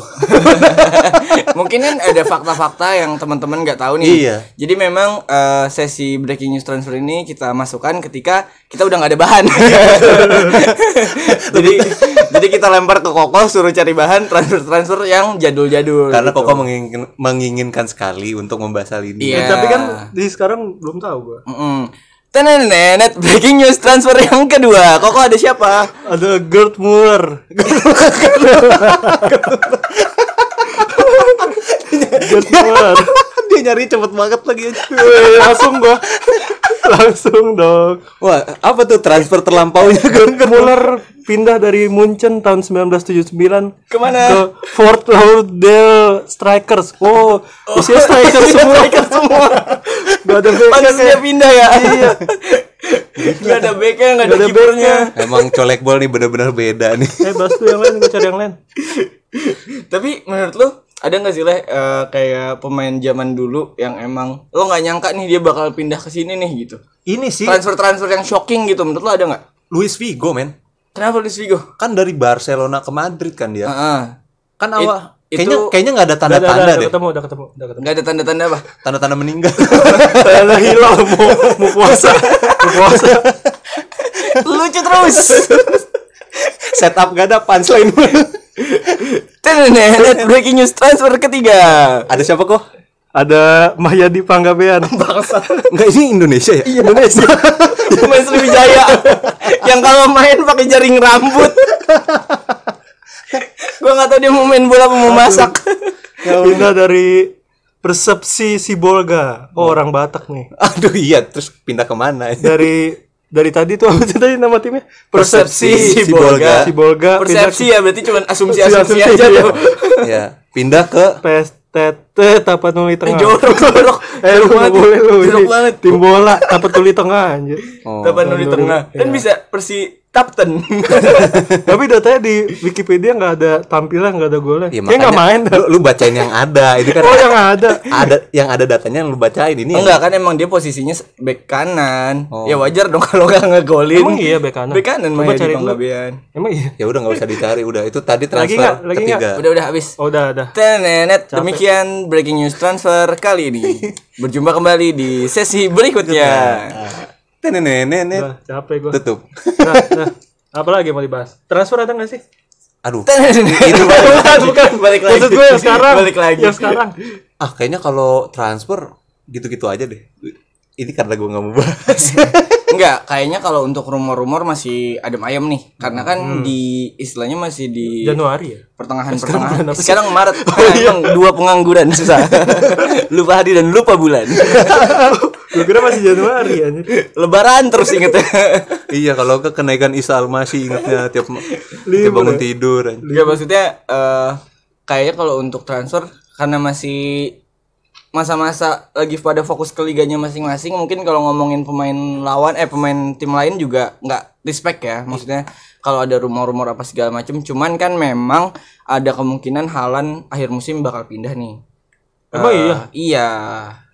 Speaker 3: mungkin kan ada fakta-fakta yang teman-teman nggak tahu nih
Speaker 1: Iya.
Speaker 3: jadi memang eh, sesi breaking news transfer ini kita masukkan ketika kita udah nggak ada
Speaker 2: [laughs]
Speaker 3: bahan
Speaker 2: Iya,
Speaker 3: [laughs] jadi jadi kita lempar ke Koko suruh cari bahan transfer-transfer yang jadul-jadul
Speaker 1: [laughs] Karena
Speaker 3: gitu.
Speaker 1: Koko menginginkan,
Speaker 2: Eh,
Speaker 1: menginginkan sekali untuk membahas hal ini.
Speaker 3: Iya.
Speaker 2: kan- Nah. Tapi kan di sekarang belum tahu gue.
Speaker 3: Mm-mm. Tenenenet, breaking news transfer yang kedua. Koko ada siapa?
Speaker 2: Ada Gerd [laughs] Muller. Gerd Muller.
Speaker 1: [laughs] dia nyari cepet banget
Speaker 3: [laughs]
Speaker 1: lagi aja.
Speaker 2: Wih, langsung gua. Iya. Langsung dong.
Speaker 1: Wah, apa tuh transfer
Speaker 3: [laughs]
Speaker 1: terlampaunya?
Speaker 2: Gerd Muller pindah dari Munchen tahun 1979
Speaker 3: Kemana?
Speaker 2: ke Fort Lauderdale Strikers. Wow, isinya striker semua. semua. Gak ada backnya
Speaker 3: Pantes dia
Speaker 2: Iya, kayak-
Speaker 3: pindah ya. [laughs]
Speaker 2: Iya.
Speaker 3: Gak ada backnya, gak ada
Speaker 2: Gak ada
Speaker 3: kipernya.
Speaker 2: backnya.
Speaker 1: Emang colek bol nih bener-bener beda nih.
Speaker 2: Eh, bahas tuh yang lain, gua cari yang lain.
Speaker 3: Tapi menurut lu ada nggak sih leh eh, kayak pemain zaman dulu yang emang lo nggak nyangka nih dia bakal pindah ke sini nih gitu.
Speaker 1: Ini sih
Speaker 3: Transfer transfer yang shocking gitu menurut lo ada nggak?
Speaker 1: Luis Figo men.
Speaker 3: Kenapa Luis Figo?
Speaker 1: Kan dari Barcelona ke Madrid kan dia.
Speaker 3: Heeh.
Speaker 1: Kan awal
Speaker 3: Ah, It-
Speaker 1: kayaknya
Speaker 3: itu-
Speaker 1: kayaknya nggak ada
Speaker 2: Udah, udah,
Speaker 1: tanda-tanda
Speaker 2: udah
Speaker 1: deh.
Speaker 2: ketemu, udah ketemu, udah ketemu.
Speaker 3: Nggak ada tanda-tanda apa?
Speaker 1: Tanda-tanda meninggal. [laughs]
Speaker 2: Tanda hilang [laughs] mau mau puasa. Mau puasa.
Speaker 3: [laughs] Lucu terus.
Speaker 1: Setup gak ada punchline.
Speaker 3: Tenenet, breaking news transfer ketiga.
Speaker 1: ada siapa kok?
Speaker 2: Ada Mahyadi Panggabean.
Speaker 3: Bangsa.
Speaker 1: Enggak ini Indonesia [laughs] ya?
Speaker 3: Indonesia. Pemain [laughs] Sriwijaya yang kalau main pakai jaring [laughs] rambut. Gua nggak tahu dia mau main bola apa mau masak.
Speaker 2: Pindah dari Persepsi Sibolga. Oh, orang Batak nih.
Speaker 1: Aduh iya, terus pindah kemana ya? [laughs]
Speaker 2: Dari dari tadi tuh apa sih tadi nama timnya?
Speaker 3: Persepsi Sibolga.
Speaker 2: Sibolga pindah
Speaker 3: Persepsi ya berarti cuman asumsi-asumsi
Speaker 2: Asumsi-asumsi,
Speaker 3: aja
Speaker 2: iya.
Speaker 3: tuh.
Speaker 1: ya, pindah ke
Speaker 2: ke PSTT
Speaker 3: Eh,
Speaker 2: Tapanuli Tengah.
Speaker 3: [laughs] jorok jorok.
Speaker 2: Eh, lu
Speaker 3: Jorok
Speaker 2: nggak boleh lu.
Speaker 3: Jorok
Speaker 2: ini
Speaker 3: banget.
Speaker 2: Tim bola Tapanuli Tengah anjir.
Speaker 1: Oh.
Speaker 3: Tapan di tengah.
Speaker 2: iya.
Speaker 3: Kan bisa Persi Tapten.
Speaker 2: [laughs] Tapi datanya di Wikipedia nggak ada tampilan, nggak ada golnya.
Speaker 3: Iya,
Speaker 1: Ya,
Speaker 2: Kayak nggak main [laughs] dah.
Speaker 1: lu, lu bacain yang ada. Ini kan
Speaker 2: Oh, yang ada.
Speaker 1: ada yang ada datanya yang lu bacain ini. ya?
Speaker 3: [laughs] Enggak kan emang dia posisinya se- back kanan.
Speaker 1: Oh.
Speaker 3: Ya wajar dong [laughs] kalau nggak ngegolin.
Speaker 2: Emang iya back kanan?
Speaker 3: Back kanan
Speaker 2: Coba
Speaker 3: mah
Speaker 2: cari
Speaker 3: cari
Speaker 2: dulu. Emang iya.
Speaker 1: Ya udah nggak usah dicari, udah itu tadi
Speaker 2: Lagi
Speaker 1: transfer
Speaker 2: nggak? Lagi nggak?
Speaker 1: ketiga.
Speaker 3: Udah udah habis.
Speaker 2: Oh, udah ada.
Speaker 3: Tenenet, demikian breaking news transfer kali ini. [laughs] Berjumpa kembali di sesi berikutnya.
Speaker 1: Tenenenenet.
Speaker 2: Udah, capek gua.
Speaker 1: Tutup. [laughs]
Speaker 2: Nah, nah. Apa lagi mau dibahas? Transfer ada nggak sih?
Speaker 1: Aduh.
Speaker 3: Tenenet.
Speaker 1: Itu balik
Speaker 3: [laughs] bukan balik lagi.
Speaker 2: Maksud gue
Speaker 3: [laughs]
Speaker 2: yang sekarang.
Speaker 3: balik lagi.
Speaker 2: Yang sekarang.
Speaker 1: Ah, kayaknya kalau transfer gitu-gitu aja deh. Ini karena gue nggak mau bahas.
Speaker 3: Enggak, kayaknya kalau untuk rumor-rumor masih adem ayem nih. Karena kan
Speaker 2: Hmm.
Speaker 3: di istilahnya masih di
Speaker 2: Januari ya.
Speaker 3: pertengahan pertengahan. Sekarang Maret. Ah, emang dua pengangguran susah. lupa hari dan lupa bulan.
Speaker 2: Gue kira masih Januari anjir.
Speaker 3: Lebaran terus inget.
Speaker 1: [laughs] iya, kalau ke kenaikan Isa Almasih ingetnya tiap, tiap bangun tidur. anjing.
Speaker 3: Enggak maksudnya eh kayaknya kalau untuk transfer karena masih masa-masa lagi pada fokus ke liganya masing-masing mungkin kalau ngomongin pemain lawan eh pemain tim lain juga nggak respect ya maksudnya kalau ada rumor-rumor apa segala macam cuman kan memang ada kemungkinan Halan akhir musim bakal pindah nih
Speaker 2: Emang
Speaker 3: Eh,
Speaker 2: iya?
Speaker 3: iya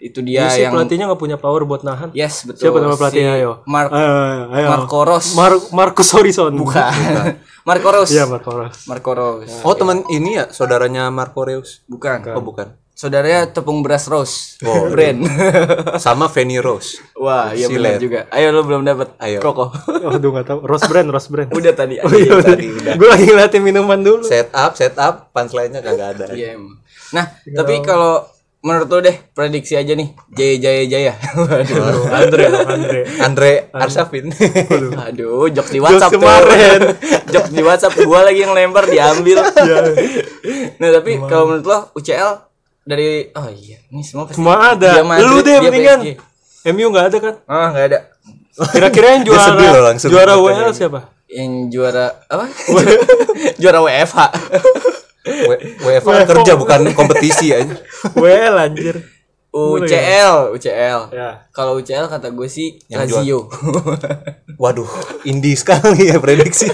Speaker 3: itu dia
Speaker 2: Ya, si
Speaker 3: yang
Speaker 2: pelatihnya nggak punya power buat nahan.
Speaker 3: yes betul
Speaker 2: Siapa nama pelatihnya
Speaker 3: Si
Speaker 2: ayo?
Speaker 3: Mark
Speaker 2: Ayo, ayo, Eh, ayo.
Speaker 3: Marco Ros
Speaker 2: Mar- Marcus Horizon.
Speaker 3: bukan [laughs] Marco Ros
Speaker 2: Iya, Marco Ros.
Speaker 3: Marco Ros
Speaker 1: Oh, teman ini ya saudaranya Marco Reus.
Speaker 3: bukan
Speaker 1: Oh, bukan.
Speaker 3: saudaranya tepung beras rose
Speaker 1: Oh,
Speaker 3: brand
Speaker 1: Sama Fanny Rose.
Speaker 3: wah iya
Speaker 1: Silet.
Speaker 3: benar juga ayo lo belum dapat
Speaker 1: Ayo.
Speaker 3: koko
Speaker 2: Aduh, nggak tahu. Ros brand, Ros brand.
Speaker 3: udah tadi
Speaker 2: Oh, iya, udah.
Speaker 1: tadi udah.
Speaker 2: Gue lagi ngeliatin minuman dulu.
Speaker 1: Set up, set up, punchline-nya kagak ada.
Speaker 3: Iya, emang. nah tapi kalau menurut lo deh prediksi aja nih jaya jaya jaya [laughs] waduh
Speaker 2: Andre, Andre.
Speaker 1: Andre Arsafin.
Speaker 3: Aduh, jok di WhatsApp tuh.
Speaker 2: kemarin.
Speaker 3: [laughs] jok di WhatsApp gua lagi yang lempar diambil. [laughs] nah, tapi kalau menurut lo UCL dari oh iya, ini semua pasti
Speaker 2: Semua ada.
Speaker 3: Dia Madrid,
Speaker 2: Lu deh
Speaker 3: dia
Speaker 2: mendingan.
Speaker 3: PSG.
Speaker 2: MU nggak ada kan?
Speaker 3: Ah, enggak ada.
Speaker 2: Kira-kira yang
Speaker 1: Dia
Speaker 2: juara
Speaker 1: sedih loh langsung.
Speaker 2: juara WL siapa?
Speaker 3: Yang juara apa? [laughs] juara WFH.
Speaker 1: [laughs] W- WFA kerja bukan kompetisi aja.
Speaker 2: WL anjir.
Speaker 3: UCL, UCL.
Speaker 2: Ya.
Speaker 3: Kalau UCL kata gue sih
Speaker 1: Yang
Speaker 2: [laughs]
Speaker 3: Lazio.
Speaker 1: Waduh, indie sekali ya prediksi.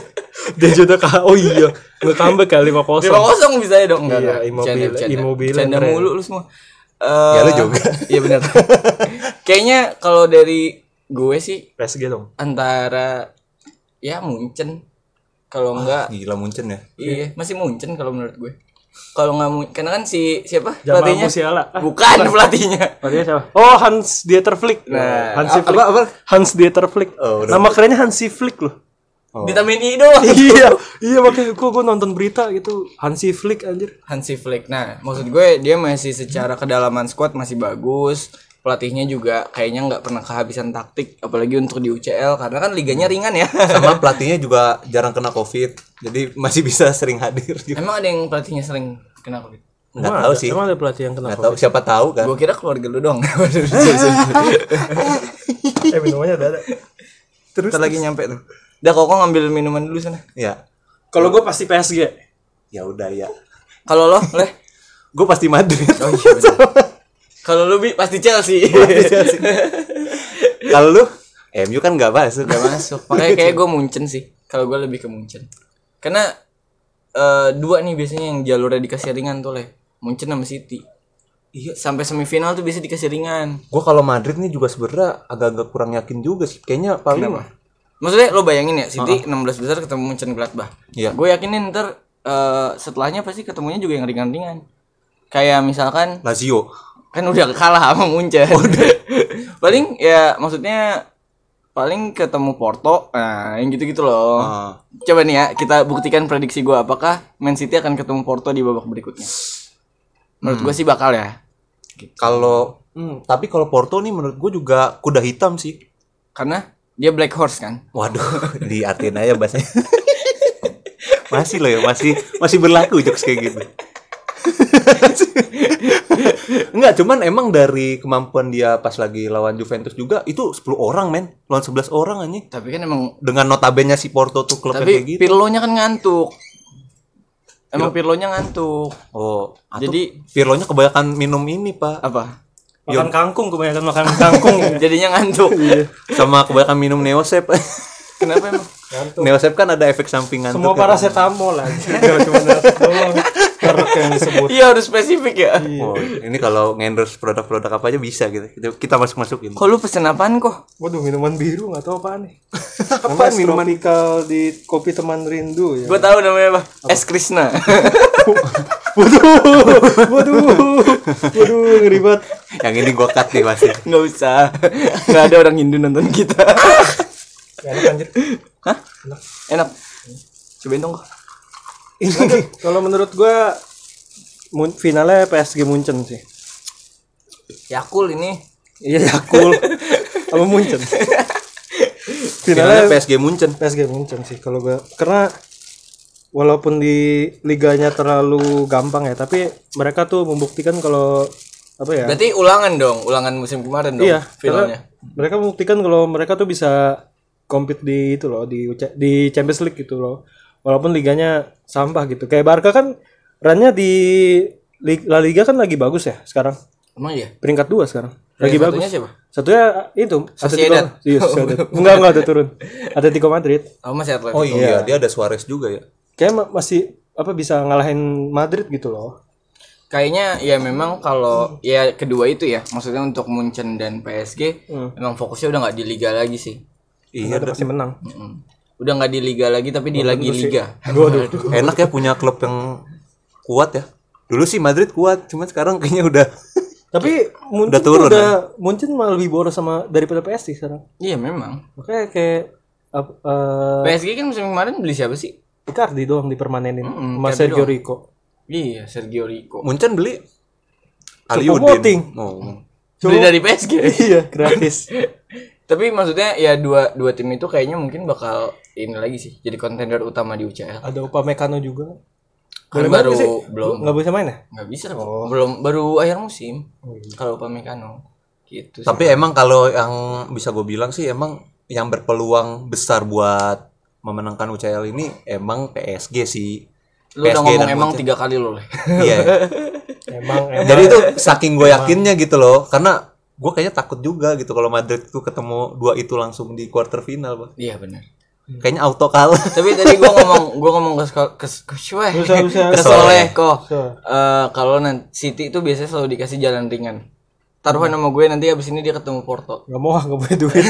Speaker 2: Dia juga kalah. Oh iya, nggak tambah kali 5-0.
Speaker 3: Lima kosong bisa ya dong. Enggak, enggak.
Speaker 2: Iya, Immobile-
Speaker 3: Bercanda, bercanda.
Speaker 2: Immobile
Speaker 3: Bercanda
Speaker 2: keren.
Speaker 3: mulu lu semua. Eh,
Speaker 1: Ya, lu juga.
Speaker 3: [laughs] Iya benar. Kayaknya kalau dari gue sih
Speaker 2: PSG dong.
Speaker 3: antara ya Munchen kalau enggak
Speaker 1: Gila Munchen ya.
Speaker 3: iya masih Munchen kalau menurut gue. Kalau enggak Mun- karena kan si siapa
Speaker 2: Jamal
Speaker 3: pelatihnya?
Speaker 2: Musiala. Ah,
Speaker 3: Bukan pelatihnya.
Speaker 2: Pelatihnya siapa? Oh, Hans Dieter Flick.
Speaker 3: Nah,
Speaker 2: Hansi
Speaker 1: apa- apa?
Speaker 2: Hans Dieter Flick.
Speaker 1: Oh, udah.
Speaker 2: Nama kerennya Hansi Flick loh.
Speaker 1: Oh.
Speaker 3: Vitamin I doang.
Speaker 2: iya, iya makanya gua, gua nonton berita gitu Hansi Flick anjir.
Speaker 3: Hansi Flick. Nah, maksud gue dia masih secara kedalaman squad masih bagus. pelatihnya juga kayaknya nggak pernah kehabisan taktik apalagi untuk di UCL karena kan liganya ringan [laughs] ya
Speaker 1: Sama pelatihnya juga jarang kena covid, jadi masih bisa sering hadir. juga.
Speaker 3: emang ada yang pelatihnya sering kena covid
Speaker 1: Nggak
Speaker 2: Emang
Speaker 1: tahu
Speaker 2: ada-
Speaker 1: sih,
Speaker 2: Emang ada pelatih yang kena
Speaker 1: nggak tahu siapa tahu kan.
Speaker 3: gue kira keluarga lu [laughs] dong
Speaker 2: Eh minumannya ada ada.
Speaker 3: terus lagi nyampe tuh udah kok ngambil minuman dulu sana
Speaker 1: Ya,
Speaker 5: Kalau gue pasti PSG.
Speaker 1: ya udah ya.
Speaker 3: kalau lo leh
Speaker 1: Gue pasti Madrid.
Speaker 3: kalau lu bi pasti Chelsea
Speaker 1: Kalau lu, MU kan nggak masuk.
Speaker 3: Gak masuk. Makanya kayak gue Munchen sih. Kalau gue lebih ke Munchen. Karena eh, dua nih biasanya yang jalurnya dikasih ringan tuh leh. Munchen sama City. Iya. Sampai semifinal tuh biasa dikasih ringan.
Speaker 1: Gue kalau Madrid nih juga sebenernya agak-agak kurang yakin juga sih. Kayaknya paling
Speaker 3: Maksudnya lo bayangin ya City 16 besar ketemu Munchen Gladbach.
Speaker 1: Iya.
Speaker 3: Gue yakinin ntar eh, setelahnya pasti ketemunya juga yang ringan-ringan. Kayak misalkan
Speaker 1: Lazio.
Speaker 3: kan udah kalah sama Munchen. [laughs] paling ya maksudnya paling ketemu Porto. Nah, yang gitu-gitu loh.
Speaker 1: Ah,
Speaker 3: Coba nih ya, kita buktikan prediksi gua apakah Man City akan ketemu Porto di babak berikutnya. Menurut
Speaker 1: Hmm.
Speaker 3: gua sih bakal ya.
Speaker 1: kalau hmm, tapi kalau Porto nih menurut gue juga kuda hitam sih.
Speaker 3: Karena dia black horse kan.
Speaker 1: Waduh, [laughs] diartiin aja bahasanya. [laughs] masih loh ya, masih masih berlaku jokes kayak gitu. [laughs] Enggak, cuman emang dari kemampuan dia pas lagi lawan Juventus juga itu 10 orang men, lawan 11 orang anjing.
Speaker 3: Tapi kan emang
Speaker 1: Dengan notabene si Porto tuh klubnya
Speaker 3: tapi
Speaker 1: kayak gitu.
Speaker 3: Pirlo-nya kan ngantuk. Emang Pirlo-nya ngantuk.
Speaker 1: Oh, jadi
Speaker 3: Jadi
Speaker 1: Pirlo-nya kebanyakan minum ini, Pak.
Speaker 3: apa?
Speaker 2: Makan kangkung kebanyakan makan [laughs] kangkung.
Speaker 3: Jadinya ngantuk.
Speaker 1: Iya, Sama kebanyakan minum Neosep. [laughs]
Speaker 3: Kenapa emang?
Speaker 1: Neosep kan ada efek sampingan
Speaker 2: Semua paracetamol lah. [laughs] Gak cuma nafas doang. Merek yang disebut.
Speaker 3: [laughs] Iya harus spesifik ya.
Speaker 1: Oh, ini kalau ngendorse produk-produk apa aja bisa gitu. Kita- Kita masuk-masukin.
Speaker 3: Kok lu pesen apaan kok?
Speaker 2: Waduh minuman biru nggak tahu apaan nih. [laughs] Apa minuman ikal di kopi teman rindu [laughs] ya.
Speaker 3: Gua tahu namanya apa. Es Krishna.
Speaker 2: Waduh. Waduh ngeri banget.
Speaker 1: Yang ini gua cut nih pasti.
Speaker 3: Nggak usah. Nggak ada orang Hindu nonton kita.
Speaker 2: Gak enak anjir.
Speaker 3: Hah? Enak. Cobain dong kok.
Speaker 2: Kalau menurut gua mun- finalnya PSG Munchen sih.
Speaker 3: Yakul ini
Speaker 2: Iya [laughs] Yakul sama [laughs] Munchen.
Speaker 1: Finalnya
Speaker 2: Finalnya
Speaker 1: PSG Munchen.
Speaker 2: PSG Munchen sih kalau gua karena walaupun di liganya terlalu gampang ya tapi mereka tuh membuktikan kalau apa ya
Speaker 3: Berarti ulangan dong, ulangan musim kemarin dong
Speaker 2: iya
Speaker 3: finalnya.
Speaker 2: karena mereka membuktikan kalau mereka tuh bisa compete di itu loh di UC di Champions League gitu loh walaupun liganya sampah gitu kayak Barca kan runnya di Li- La Liga kan lagi bagus ya sekarang
Speaker 3: Emang iya?
Speaker 2: peringkat dua sekarang
Speaker 1: iya.
Speaker 2: lagi
Speaker 3: Yang
Speaker 2: bagus
Speaker 3: satunya siapa?
Speaker 2: satunya itu
Speaker 3: Sociedad.
Speaker 2: Atletico iya
Speaker 1: [laughs]
Speaker 2: Sociedad. enggak enggak ada turun Atletico Madrid
Speaker 3: Oh, masih Atletico.
Speaker 1: Oh iya, dia ada Suarez juga ya.
Speaker 2: kayak ma- masih apa bisa ngalahin Madrid gitu loh.
Speaker 3: Kayaknya ya memang kalau ya kedua itu ya, maksudnya untuk Munchen dan PSG emang fokusnya udah nggak di liga lagi sih.
Speaker 1: Iya,
Speaker 2: Madrid pasti menang.
Speaker 3: Mm-mm. Udah nggak di liga lagi tapi di lagi liga.
Speaker 1: enak ya punya klub yang kuat ya. Dulu sih Madrid kuat, cuman sekarang kayaknya udah [laughs]
Speaker 2: Tapi Munchen
Speaker 1: Udah
Speaker 2: udah
Speaker 1: turun, ya.
Speaker 2: udah Munchen malah lebih boros sama daripada PSG sekarang.
Speaker 3: [laughs] Iya memang.
Speaker 2: Makanya kayak ap- eh
Speaker 3: PSG kan musim kemarin beli siapa sih?
Speaker 2: Icardi doang dipermanenin
Speaker 3: Mm-mm,
Speaker 2: sama
Speaker 3: Icardi
Speaker 2: Sergio
Speaker 3: doang.
Speaker 2: Rico.
Speaker 3: [laughs] Iya, Sergio Rico.
Speaker 1: Munchen beli
Speaker 2: Choupo-Moting.
Speaker 1: Oh.
Speaker 3: Beli dari PSG.
Speaker 2: iya, gratis.
Speaker 3: tapi maksudnya ya dua dua tim itu kayaknya mungkin bakal ini lagi sih, jadi kontender utama di UCL.
Speaker 2: ada Upamecano juga.
Speaker 3: Kan
Speaker 2: Boleh main
Speaker 3: baru
Speaker 2: nggak sih?
Speaker 3: belum
Speaker 2: Nggak bisa main ya?
Speaker 3: nggak bisa Pak. belum baru akhir musim
Speaker 2: Oh, iya.
Speaker 3: kalau Upamecano gitu sih.
Speaker 1: Tapi emang kalau yang bisa gue bilang sih emang yang berpeluang besar buat memenangkan UCL ini emang PSG sih.
Speaker 3: lu
Speaker 1: PSG
Speaker 3: udah ngomong
Speaker 1: dan
Speaker 3: emang
Speaker 2: ya.
Speaker 1: Munchen.
Speaker 3: tiga kali lo
Speaker 1: Iya. [laughs]
Speaker 2: Emang eh, emang
Speaker 1: Jadi itu saking gue yakinnya gitu loh, karena gue kayaknya takut juga gitu kalau Madrid tuh ketemu dua itu langsung di quarter final, Bang.
Speaker 3: [laughs] iya benar
Speaker 2: Hmm.
Speaker 1: Kayaknya auto
Speaker 2: [laughs]
Speaker 1: kalah.
Speaker 3: tapi tadi gua ngomong gua ngomong ke Sko- ke ke Swe-
Speaker 2: Bisa, bisa.
Speaker 3: ke Soleh kok
Speaker 2: Soleh.
Speaker 3: Eh, kalau nanti City itu biasanya selalu dikasih jalan ringan taruhan sama gue nanti abis ini dia ketemu Porto
Speaker 2: nggak mau ah, nggak punya duit.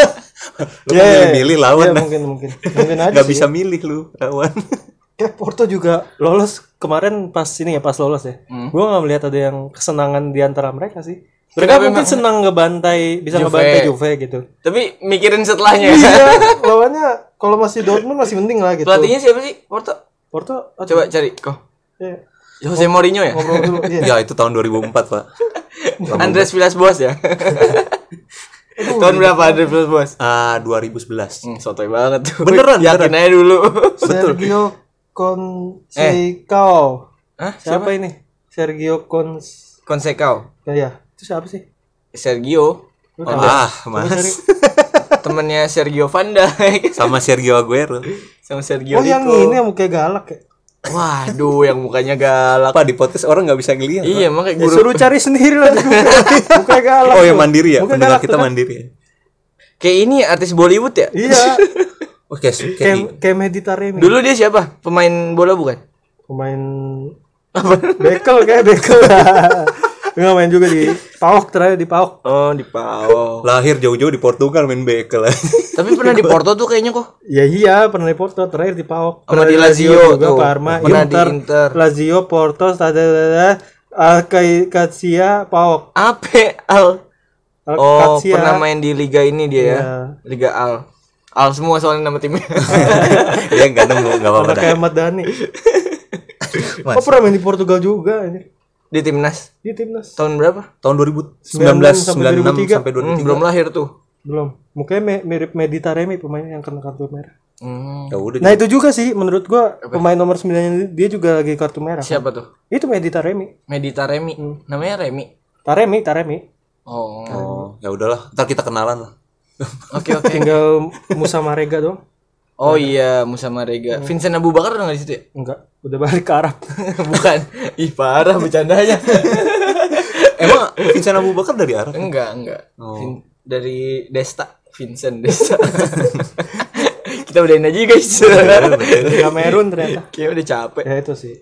Speaker 3: [laughs]
Speaker 1: Lu kan milih-milih lawan.
Speaker 2: Iya, mungkin mungkin. Mungkin aja
Speaker 1: Gak
Speaker 2: sih.
Speaker 1: bisa milih lu lawan.
Speaker 2: Kayak Eh, Porto juga lolos kemarin pas ini ya pas lolos ya.
Speaker 3: Hmm.
Speaker 2: Gua nggak melihat ada yang kesenangan di antara mereka sih. Mereka mungkin senang ngebantai bisa ngebantai Juve
Speaker 3: [laughs]
Speaker 2: gitu.
Speaker 3: tapi mikirin setelahnya
Speaker 2: Iya, lawannya kalau masih Dortmund masih penting lah
Speaker 3: [laughs]
Speaker 2: gitu.
Speaker 3: pelatihnya siapa sih Porto
Speaker 2: Porto aduh,
Speaker 3: coba cari kok
Speaker 2: ya,
Speaker 3: Jose Mourinho ya [laughs]
Speaker 2: ngobrol dulu.
Speaker 1: ya
Speaker 2: Iya.
Speaker 1: itu tahun 2004, Pak.
Speaker 3: Andres Villas Boas ya. Tahun berapa Andres Villas Boas?
Speaker 1: Ah, 2011.
Speaker 3: Hmm, sotoy banget tuh.
Speaker 1: Beneran,
Speaker 3: Yakin aja [laughs] dulu. Eh.
Speaker 2: Sergio Conceição.
Speaker 3: Hah?
Speaker 2: Siapa, ini? Sergio Cons
Speaker 3: Konsekau.
Speaker 2: ya, ya. Itu siapa sih?
Speaker 3: Sergio,
Speaker 2: Lu tahu?
Speaker 1: Ah,
Speaker 2: Coba
Speaker 1: Mas.
Speaker 2: cari.
Speaker 3: temannya Sergio Van Dijk [laughs]
Speaker 1: Sama Sergio Aguero.
Speaker 3: sama Sergio
Speaker 2: Oh, yang
Speaker 3: Rico.
Speaker 2: ini yang mukanya galak ya.
Speaker 3: Waduh, yang mukanya galak.
Speaker 1: Apa di podcast orang nggak bisa ngelihat.
Speaker 3: Iya, makanya
Speaker 2: Ya,
Speaker 3: guru.
Speaker 2: suruh cari sendiri [laughs] lah di Google. Mukanya galak.
Speaker 1: Oh,
Speaker 2: tuh.
Speaker 1: yang mandiri ya.
Speaker 2: Mukanya
Speaker 1: Pendengar
Speaker 2: galak tuh
Speaker 1: kita
Speaker 2: kan.
Speaker 1: mandiri. ya?
Speaker 3: Kayak ini artis Bollywood ya?
Speaker 2: [laughs] Iya.
Speaker 1: Oke,
Speaker 2: Kayak
Speaker 1: kayak
Speaker 2: kayak Meditaremi.
Speaker 3: Dulu dia siapa? Pemain bola bukan?
Speaker 2: Pemain Bekel kayak [laughs] bekel. Enggak main juga di PAOK terakhir di PAOK.
Speaker 3: Oh, di Pau.
Speaker 1: lahir jauh-jauh di Portugal main bekel.
Speaker 3: [laughs]
Speaker 1: [laughs]
Speaker 3: Tapi pernah di Porto tuh kayaknya kok.
Speaker 2: Ya iya, pernah di Porto, terakhir di PAOK.
Speaker 3: Sama di Lazio
Speaker 2: juga,
Speaker 3: tuh.
Speaker 2: Parma,
Speaker 3: Pernah di
Speaker 2: Inter,
Speaker 3: Inter.
Speaker 2: Lazio, Porto, Stadella, Alcacia, PAOK.
Speaker 3: Ape Al. Oh,
Speaker 2: Alcacia.
Speaker 3: pernah main di liga ini dia ya.
Speaker 2: Iya.
Speaker 3: Liga Al. Al semua soalnya nama timnya. [laughs]
Speaker 1: Dia nggak nemu, nggak apa-apa.
Speaker 2: Anak
Speaker 1: dah.
Speaker 2: kayak Ahmad Dhani. Oh, pernah main di Portugal juga ini.
Speaker 3: di timnas.
Speaker 2: Di timnas.
Speaker 3: Tahun berapa?
Speaker 1: Tahun 2019
Speaker 2: sampai
Speaker 1: 96
Speaker 2: 2003.
Speaker 1: sampai
Speaker 3: Hmm,
Speaker 1: 2003.
Speaker 3: belum lahir tuh.
Speaker 2: Belum. Mukanya me- mirip Meditaremi pemainnya yang kena kartu merah.
Speaker 3: Hmm,
Speaker 1: Ya udah.
Speaker 2: Nah, itu juga sih menurut gua pemain nomor 9 dia juga lagi kartu merah.
Speaker 3: siapa tuh?
Speaker 2: Itu Meditaremi.
Speaker 3: Medita Remi. Namanya Remi.
Speaker 2: Taremi, Taremi.
Speaker 3: Hmm. Oh.
Speaker 1: Oh, ya udahlah. Ntar kita kenalan lah.
Speaker 3: Oke oke. [laughs]
Speaker 2: Tinggal Musa Marega doang.
Speaker 3: Oh iya, Musa Marega. Vincent Abu Bakar udah nggak di situ ya?
Speaker 2: Enggak, udah balik ke Arab.
Speaker 3: [laughs] Bukan. Ih, parah [laughs] bercandanya.
Speaker 1: Emang Vincent Abu Bakar dari Arab?
Speaker 3: enggak, enggak. Vin- dari Desta, Vincent Desta. [laughs] Kita udahin aja guys.
Speaker 2: Dari
Speaker 3: iya,
Speaker 2: Kamerun ternyata.
Speaker 3: Kayaknya udah capek.
Speaker 2: Ya itu sih.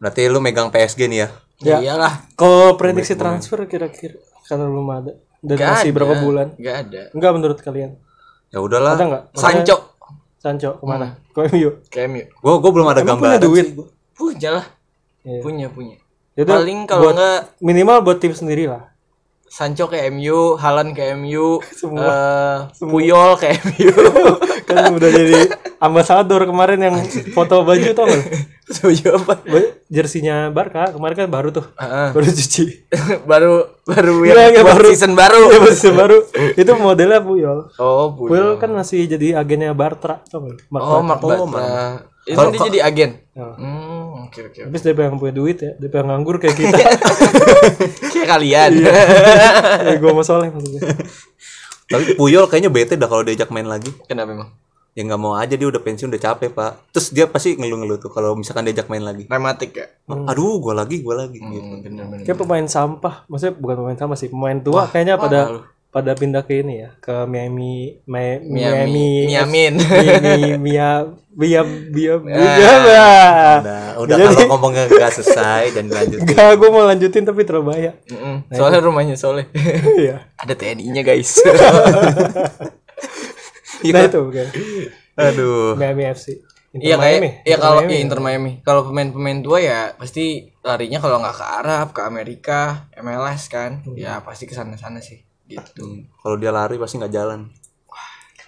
Speaker 1: Berarti lu megang PSG nih ya?
Speaker 2: Ya.
Speaker 3: Iyalah.
Speaker 2: Kalau prediksi transfer kira-kira karena belum ada dan
Speaker 3: Nggak
Speaker 2: masih
Speaker 3: ada.
Speaker 2: berapa bulan?
Speaker 3: Enggak ada.
Speaker 2: Enggak menurut kalian?
Speaker 1: Ya udahlah.
Speaker 2: Ada enggak?
Speaker 3: Sancho. Hmm.
Speaker 2: Sancho kemana? Ke MU.
Speaker 3: KMU.
Speaker 1: Gue gue belum ada
Speaker 2: Emang punya
Speaker 1: gambaran.
Speaker 2: duit.
Speaker 3: Punya lah.
Speaker 2: Iya.
Speaker 3: Punya, punya.
Speaker 2: Yaudah,
Speaker 3: Paling kalau
Speaker 2: buat-
Speaker 3: enggak
Speaker 2: Minimal buat tim sendiri lah.
Speaker 3: Sancho ke MU, Halan ke MU,
Speaker 2: Semua.
Speaker 3: eh, Puyol ke MU.
Speaker 2: Kan [laughs] udah jadi ambasador kemarin yang foto baju tau gak?
Speaker 3: Setuju apa?
Speaker 2: Ba- Jersinya Barca kemarin kan baru tuh.
Speaker 3: Heeh.
Speaker 2: [laughs] Baru cuci.
Speaker 3: [laughs] baru baru yang
Speaker 2: Nggak, nggak,
Speaker 3: buat
Speaker 2: baru.
Speaker 3: season baru.
Speaker 2: Iya, baru baru. Itu modelnya Puyol.
Speaker 3: Oh, Puyol.
Speaker 2: Will kan masih jadi agennya Bartra tau gak? Mark
Speaker 3: Oh,
Speaker 2: Bartra.
Speaker 3: Mark Bartra. Itu dia jadi agen. Hmm, oke oke.
Speaker 2: Nah, [laughs] Habis dia pengen punya duit ya, dia pengen nganggur kayak
Speaker 3: [laughs]
Speaker 2: kita.
Speaker 3: Kayak kalian.
Speaker 2: ya, gue mau soleh maksudnya.
Speaker 1: Tapi Puyol kayaknya bete dah kalau diajak main lagi.
Speaker 3: Kenapa emang?
Speaker 1: Ya nggak mau aja dia udah pensiun udah capek pak. Terus dia pasti ngeluh-ngeluh tuh kalau misalkan diajak main lagi. Hmm.
Speaker 3: Rematik ya. Hmm.
Speaker 1: Aduh, gue lagi, gue lagi. gitu.
Speaker 3: Bener-bener.
Speaker 2: Kayak pemain sampah, maksudnya bukan pemain sampah sih, pemain tua kayaknya pada pada pindah ke ini ya, ke Miami, Mi-
Speaker 3: Miami,
Speaker 2: Miami,
Speaker 3: Miamin.
Speaker 2: Miami, Mia, Mia, Mia, Mia,
Speaker 1: Nah, udah
Speaker 2: Jadi- Nah,
Speaker 1: kalau ngomongnya gak selesai dan
Speaker 2: [laughs]
Speaker 1: lanjut.
Speaker 2: Enggak, gue mau lanjutin tapi terbahaya.
Speaker 3: Mm-mm. Soalnya rumahnya soleh. [laughs]
Speaker 2: Iya.
Speaker 3: Ada TNI-nya guys.
Speaker 2: Nah itu bukan.
Speaker 1: Iya. Aduh.
Speaker 2: Miami FC. Inter
Speaker 3: Iya kayak
Speaker 2: Miami.
Speaker 3: iya
Speaker 2: Inter
Speaker 3: kalau
Speaker 2: Miami. ya.
Speaker 3: iya Inter Miami. Kalau pemain-pemain tua ya pasti larinya kalau nggak ke Arab, ke Amerika, MLS kan.
Speaker 2: Hmm.
Speaker 3: Ya pasti ke sana-sana sih. Gitu.
Speaker 1: Kalau dia lari pasti nggak jalan.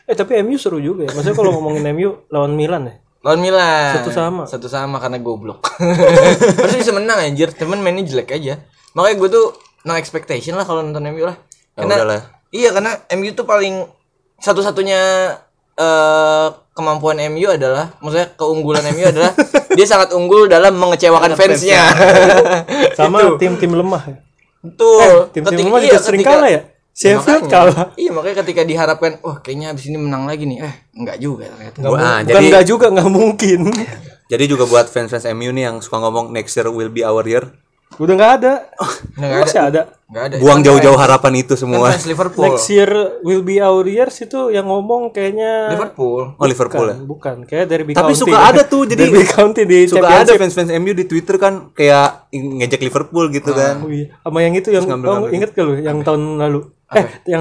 Speaker 2: Eh tapi MU seru juga ya. Maksudnya kalau ngomongin MU lawan Milan ya.
Speaker 3: Lawan Milan.
Speaker 2: Satu sama.
Speaker 3: Satu sama karena
Speaker 2: [laughs]
Speaker 3: goblok. Harusnya bisa menang anjir, temen mainnya jelek aja. Makanya gue tuh no expectation lah kalau nonton MU lah.
Speaker 1: Ya udahlah.
Speaker 3: Iya, karena MU tuh paling satu-satunya eh kemampuan MU adalah maksudnya keunggulan MU
Speaker 2: [laughs]
Speaker 3: adalah dia sangat unggul dalam mengecewakan fansnya.
Speaker 2: [laughs] Sama tim-tim lemah ya. Eh,
Speaker 3: Betul.
Speaker 2: Tim-tim
Speaker 3: Ketika-
Speaker 2: lemah
Speaker 3: iya,
Speaker 2: juga sering
Speaker 3: ketika-
Speaker 2: kalah ya.
Speaker 3: Makanya.
Speaker 2: Sheffield kalah.
Speaker 3: Iya, makanya ketika diharapkan, wah kayaknya habis ini menang lagi nih. Eh, enggak juga ternyata.
Speaker 1: Gua, ah,
Speaker 2: Bukan
Speaker 1: jadi
Speaker 2: enggak juga, enggak mungkin.
Speaker 1: jadi juga buat fans-fans MU nih yang suka ngomong next year will be our year.
Speaker 2: Udah enggak ada.
Speaker 3: Enggak ada.
Speaker 2: Masih ada.
Speaker 3: Enggak ada.
Speaker 1: Buang jauh-jauh harapan itu
Speaker 3: Eh, Kan
Speaker 1: semua.
Speaker 3: fans Liverpool.
Speaker 2: Next year will be our years itu yang ngomong kayaknya
Speaker 3: Liverpool.
Speaker 1: Oh Liverpool ya.
Speaker 2: bukan, bukan. kayak dari
Speaker 1: Tapi
Speaker 2: County.
Speaker 1: suka ada tuh, jadi
Speaker 2: [laughs] Derby County di
Speaker 1: suka
Speaker 2: Champions.
Speaker 1: ada fans-fans MU di Twitter kan kayak ngejek Liverpool gitu kan.
Speaker 2: Wih, Oh iya. sama yang itu yang
Speaker 1: ngambil-
Speaker 2: oh,
Speaker 1: ngambil.
Speaker 3: gitu.
Speaker 2: inget gak lu yang tahun lalu? Eh, yang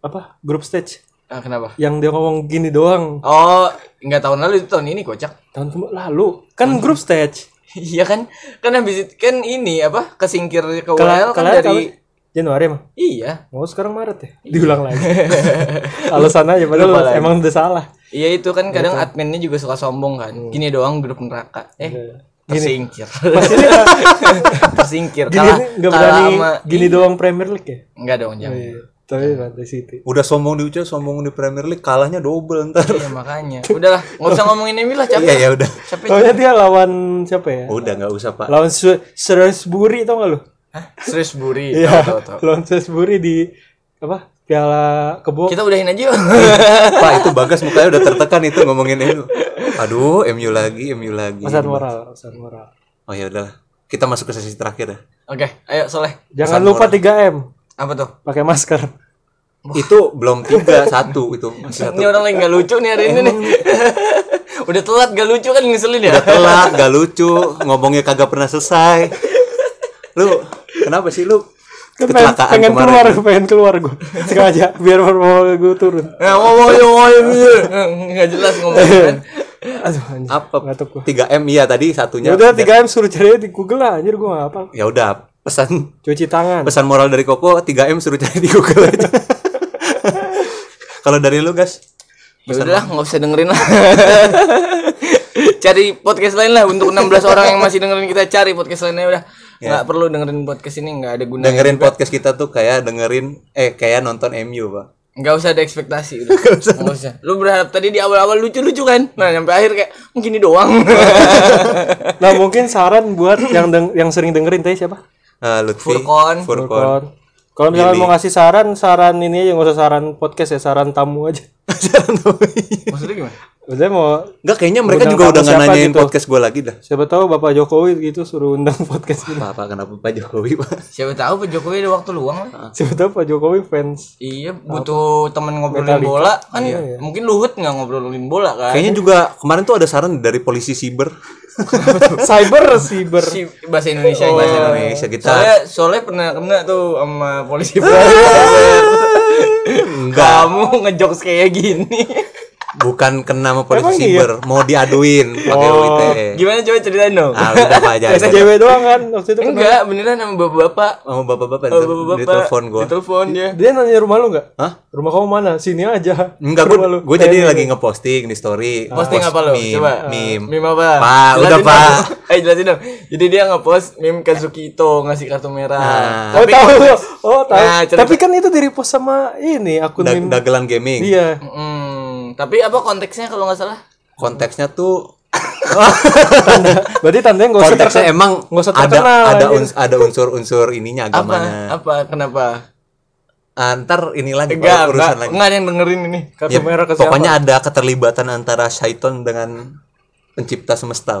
Speaker 2: apa? Group stage
Speaker 3: Ah, kenapa?
Speaker 2: yang dia ngomong gini doang
Speaker 3: Oh, enggak tahun lalu itu tahun ini kocak. [laughs]
Speaker 2: tahun kema- lalu kan group stage
Speaker 3: Iya kan? Kan habis itu kan ini apa? Kesingkir ke
Speaker 2: kalau
Speaker 3: UL kan
Speaker 2: kalau
Speaker 3: dari
Speaker 2: Januari emang
Speaker 3: Iya.
Speaker 2: mau sekarang Maret ya diulang
Speaker 3: [laughs]
Speaker 2: lagi alasan aja padahal
Speaker 3: Lupa lagi.
Speaker 2: emang udah salah Iya, Hmm.
Speaker 3: Iya itu kan kadang adminnya juga suka sombong kan. Gini doang grup neraka. Eh, tersingkir [laughs] tersingkir
Speaker 2: Gini
Speaker 3: kalah
Speaker 2: nggak
Speaker 3: kalah
Speaker 2: berani
Speaker 3: sama Iya.
Speaker 2: gini doang Premier League ya.
Speaker 3: enggak dong jangan
Speaker 2: Tapi Manchester City.
Speaker 1: Udah sombong di UCL, sombong di Premier League, kalahnya double ntar.
Speaker 3: iya makanya udahlah nggak usah ngomongin Emi lah
Speaker 1: Iya
Speaker 3: capek
Speaker 1: ya udah.
Speaker 3: capek
Speaker 2: Soalnya dia lawan siapa ya?
Speaker 3: Oh.
Speaker 1: Udah nggak usah Pak.
Speaker 2: Lawan Su- Shrewsbury tau gak lu?
Speaker 3: Hah? serius buri Tahu,
Speaker 2: Iya.
Speaker 3: tahu, tahu.
Speaker 2: Lawan Shrewsbury di apa? Piala Kebo.
Speaker 3: kita udahin aja yuk
Speaker 1: Pak itu Bagas mukanya udah tertekan itu ngomongin MU. Aduh, MU lagi, MU lagi. iya.
Speaker 2: Pesan moral, pesan moral.
Speaker 1: Oh ya udahlah. Kita masuk ke sesi terakhir ya.
Speaker 3: [laughs] oke ayo soleh
Speaker 2: Jangan lupa 3M,
Speaker 3: apa tuh
Speaker 2: pakai masker.
Speaker 1: Itu belum tiga, satu itu. Masih satu.
Speaker 3: ini orang lagi nggak lucu nih hari ini nih [laughs] udah telat gak lucu kan ngeselin ya
Speaker 1: Udah telat, gak lucu, ngomongnya kagak pernah selesai. Lu kenapa sih lu
Speaker 2: Pengen,
Speaker 1: kecelakaan
Speaker 2: pengen
Speaker 1: kemarin?
Speaker 2: keluar, pengen keluar
Speaker 1: [laughs]
Speaker 2: gue. Sengaja biar hormon gue turun.
Speaker 1: Eh,
Speaker 3: Nah, ngomong ngomong [laughs] nggak jelas ngomong
Speaker 2: [laughs]
Speaker 3: kan
Speaker 2: Aduh anjir.
Speaker 1: Apa?
Speaker 2: Ngantuk gua.
Speaker 1: 3M iya tadi satunya.
Speaker 2: Udah 3M suruh cari di Google lah anjir gue gak apa.
Speaker 1: Ya udah, pesan
Speaker 2: Cuci tangan.
Speaker 1: pesan moral dari Koko 3M suruh cari di Google aja. Kalau dari lu, Gas?
Speaker 3: Ya udahlah, nggak usah dengerin lah. [laughs] cari podcast lain lah untuk 16 orang yang masih dengerin kita cari podcast lainnya ya udah. Nggak perlu dengerin podcast ini nggak ada
Speaker 1: [laughs]
Speaker 3: gunanya.
Speaker 1: dengerin podcast kita tuh kayak dengerin eh kayak nonton MU, Pak.
Speaker 3: Nggak usah ada ekspektasi udah. Nggak usah. Lu berharap tadi di awal-awal lucu-lucu kan? Nah, sampai akhir kayak mungkin ini doang.
Speaker 2: Nah mungkin saran buat yang deng- yang sering dengerin tadi siapa?
Speaker 1: Ah, Lutfi,
Speaker 3: Furkon.
Speaker 1: [laughs] Furkon.
Speaker 2: Kon. Kalau misalkan mau ngasih saran, saran ini aja nggak usah saran podcast ya, saran tamu aja.
Speaker 3: Maksudnya gimana?
Speaker 2: Maksudnya mau
Speaker 1: Enggak kayaknya mereka
Speaker 2: Undang
Speaker 1: juga
Speaker 2: tamu
Speaker 1: udah nggak
Speaker 2: siapa
Speaker 1: nanyain
Speaker 2: gitu.
Speaker 1: podcast gue lagi dah.
Speaker 2: siapa tahu Bapak Jokowi gitu suruh undang [laughs] podcast ini.
Speaker 1: Apa, apa kenapa Pak Jokowi, Pak?
Speaker 3: Siapa tahu Pak Jokowi ada waktu luang
Speaker 1: Ah.
Speaker 3: lah.
Speaker 2: Siapa tahu Pak Jokowi fans.
Speaker 3: Iya, butuh temen ngobrolin bola kan.
Speaker 1: Iya.
Speaker 3: Mungkin Luhut nggak ngobrolin bola kan.
Speaker 1: Kayaknya juga kemarin tuh ada saran dari polisi siber
Speaker 2: cyber cyber.
Speaker 3: Si bahasa Indonesia bahasa Indonesia.
Speaker 1: Indonesia Iya. kita.
Speaker 3: Soalnya soalnya pernah kena tuh sama
Speaker 1: [laughs]
Speaker 3: polisi. Kamu ngejokes kayak gini.
Speaker 1: Bukan kena sama polisi siber, mau diaduin pakai UIT.
Speaker 3: Gimana coba ceritain dong?
Speaker 1: Ah, udah Pak aja.
Speaker 2: SJW doang kan waktu itu. kan.
Speaker 3: Enggak, beneran sama bapak-bapak.
Speaker 1: Sama bapak-bapak
Speaker 3: Oh,
Speaker 1: di- di
Speaker 3: bapak-bapak.
Speaker 1: telepon gue.
Speaker 3: Ditelepon dia.
Speaker 2: Dia nanya rumah lu nggak?
Speaker 1: Hah?
Speaker 2: Rumah kamu mana? Sini aja.
Speaker 1: Enggak,
Speaker 2: Rumah lu.
Speaker 1: gue gue jadi
Speaker 2: Eh,
Speaker 1: lagi ngeposting di story.
Speaker 3: Posting
Speaker 1: Post
Speaker 3: apa lo?
Speaker 1: meme,
Speaker 3: Coba. Ah,
Speaker 1: Meme.
Speaker 3: Meme apa?
Speaker 1: Pak,
Speaker 3: Jelasin
Speaker 1: udah
Speaker 3: dong. [laughs]
Speaker 1: Pak.
Speaker 3: Eh jelasin dong. Jadi dia ngepost meme Kazuki Ito ngasih kartu merah.
Speaker 1: Ah.
Speaker 2: Oh
Speaker 3: Tapi
Speaker 2: tahu.
Speaker 3: konteks-
Speaker 2: Oh tahu.
Speaker 3: Nah, cerita-
Speaker 2: Tapi kan itu di repost sama ini akun
Speaker 1: Da-
Speaker 2: meme.
Speaker 1: dagelan gaming.
Speaker 2: Iya.
Speaker 3: Hmm, tapi apa konteksnya kalau nggak salah?
Speaker 1: Konteksnya tuh
Speaker 2: Berarti tandanya nggak usah
Speaker 1: konteksnya
Speaker 2: terkenal.
Speaker 1: emang
Speaker 2: nggak usah
Speaker 1: ada
Speaker 2: terkenal,
Speaker 1: ada
Speaker 2: anjing.
Speaker 1: uns- ada unsur-unsur ininya
Speaker 3: Apa?
Speaker 1: agamanya. Ah,
Speaker 3: Apa? Kenapa?
Speaker 1: Antar ini lagi Pak,
Speaker 3: Enggak,
Speaker 1: urusan
Speaker 3: enggak,
Speaker 1: lagi.
Speaker 3: enggak ada yang dengerin ini.
Speaker 2: Kartu
Speaker 1: Ya,
Speaker 2: merah ke siapa?
Speaker 1: pokoknya ada keterlibatan antara Syaiton dengan pencipta semesta.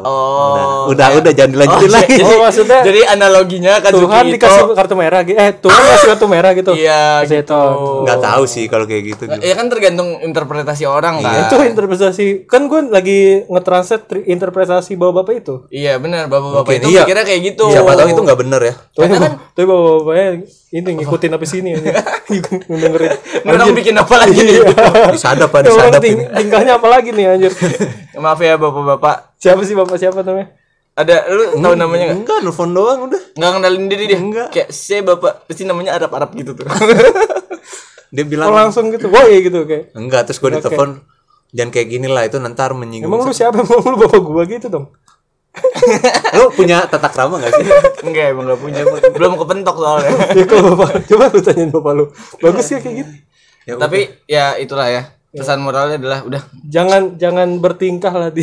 Speaker 1: udah,
Speaker 3: Oh,
Speaker 1: udah, udah jangan dilanjutin lagi.
Speaker 2: iya. Oh, maksudnya-
Speaker 3: jadi analoginya Kazuki
Speaker 2: Tuhan
Speaker 3: Ito-
Speaker 2: dikasih kartu merah gitu. Eh, Tuhan kasih kartu merah gitu.
Speaker 3: Iya,
Speaker 2: Kasih
Speaker 3: gitu.
Speaker 2: Tuhan.
Speaker 1: Nggak tahu sih kalau kayak gitu.
Speaker 2: Nah,
Speaker 1: Gil.
Speaker 3: Ya kan tergantung interpretasi orang kan.
Speaker 2: Itu interpretasi. Kan gue lagi ngetranslate tri- interpretasi bapak-bapak itu.
Speaker 3: Iya benar, bapak-bapak
Speaker 1: Mungkin,
Speaker 3: itu
Speaker 1: iya.
Speaker 3: mikirnya kayak gitu.
Speaker 1: Siapa tahu itu nggak bener
Speaker 2: [laughs]
Speaker 1: ya.
Speaker 2: Tapi bapak- tapi bapak-bapaknya ini ngikutin apa sini aja. Dengerin.
Speaker 3: Ini orang bikin apa lagi nih?
Speaker 1: Disadap, Pak,
Speaker 2: Emang
Speaker 1: disadap.
Speaker 2: [laughs] ting- tingkahnya apa lagi nih anjir?
Speaker 3: Maaf ya bapak-bapak.
Speaker 2: Siapa sih bapak siapa namanya?
Speaker 3: Ada lu tahu namanya nggak?
Speaker 1: Enggak, nelfon doang udah.
Speaker 3: Nggak kenalin diri dia.
Speaker 1: Nggak.
Speaker 3: Kayak saya bapak pasti namanya Arab-Arab gitu tuh.
Speaker 1: Dia
Speaker 2: Oh,
Speaker 1: bilang
Speaker 2: langsung gitu. Woi gitu kayak.
Speaker 1: enggak, terus gue ditelepon jangan kayak gini lah itu nanti menyinggung.
Speaker 2: Emang lu siapa? Emang lu bapak gua gitu dong. [laughs]
Speaker 1: [laughs] Lu punya tata krama gak sih?
Speaker 3: Enggak emang nggak punya. Belum kepentok soalnya.
Speaker 2: Ya kalau bapak, coba lu tanyain bapak lu. Bagus ya kayak gitu.
Speaker 3: Tapi ya itulah ya. Pesan moralnya adalah udah
Speaker 2: Jangan jangan bertingkah
Speaker 1: [laughs]
Speaker 2: lah di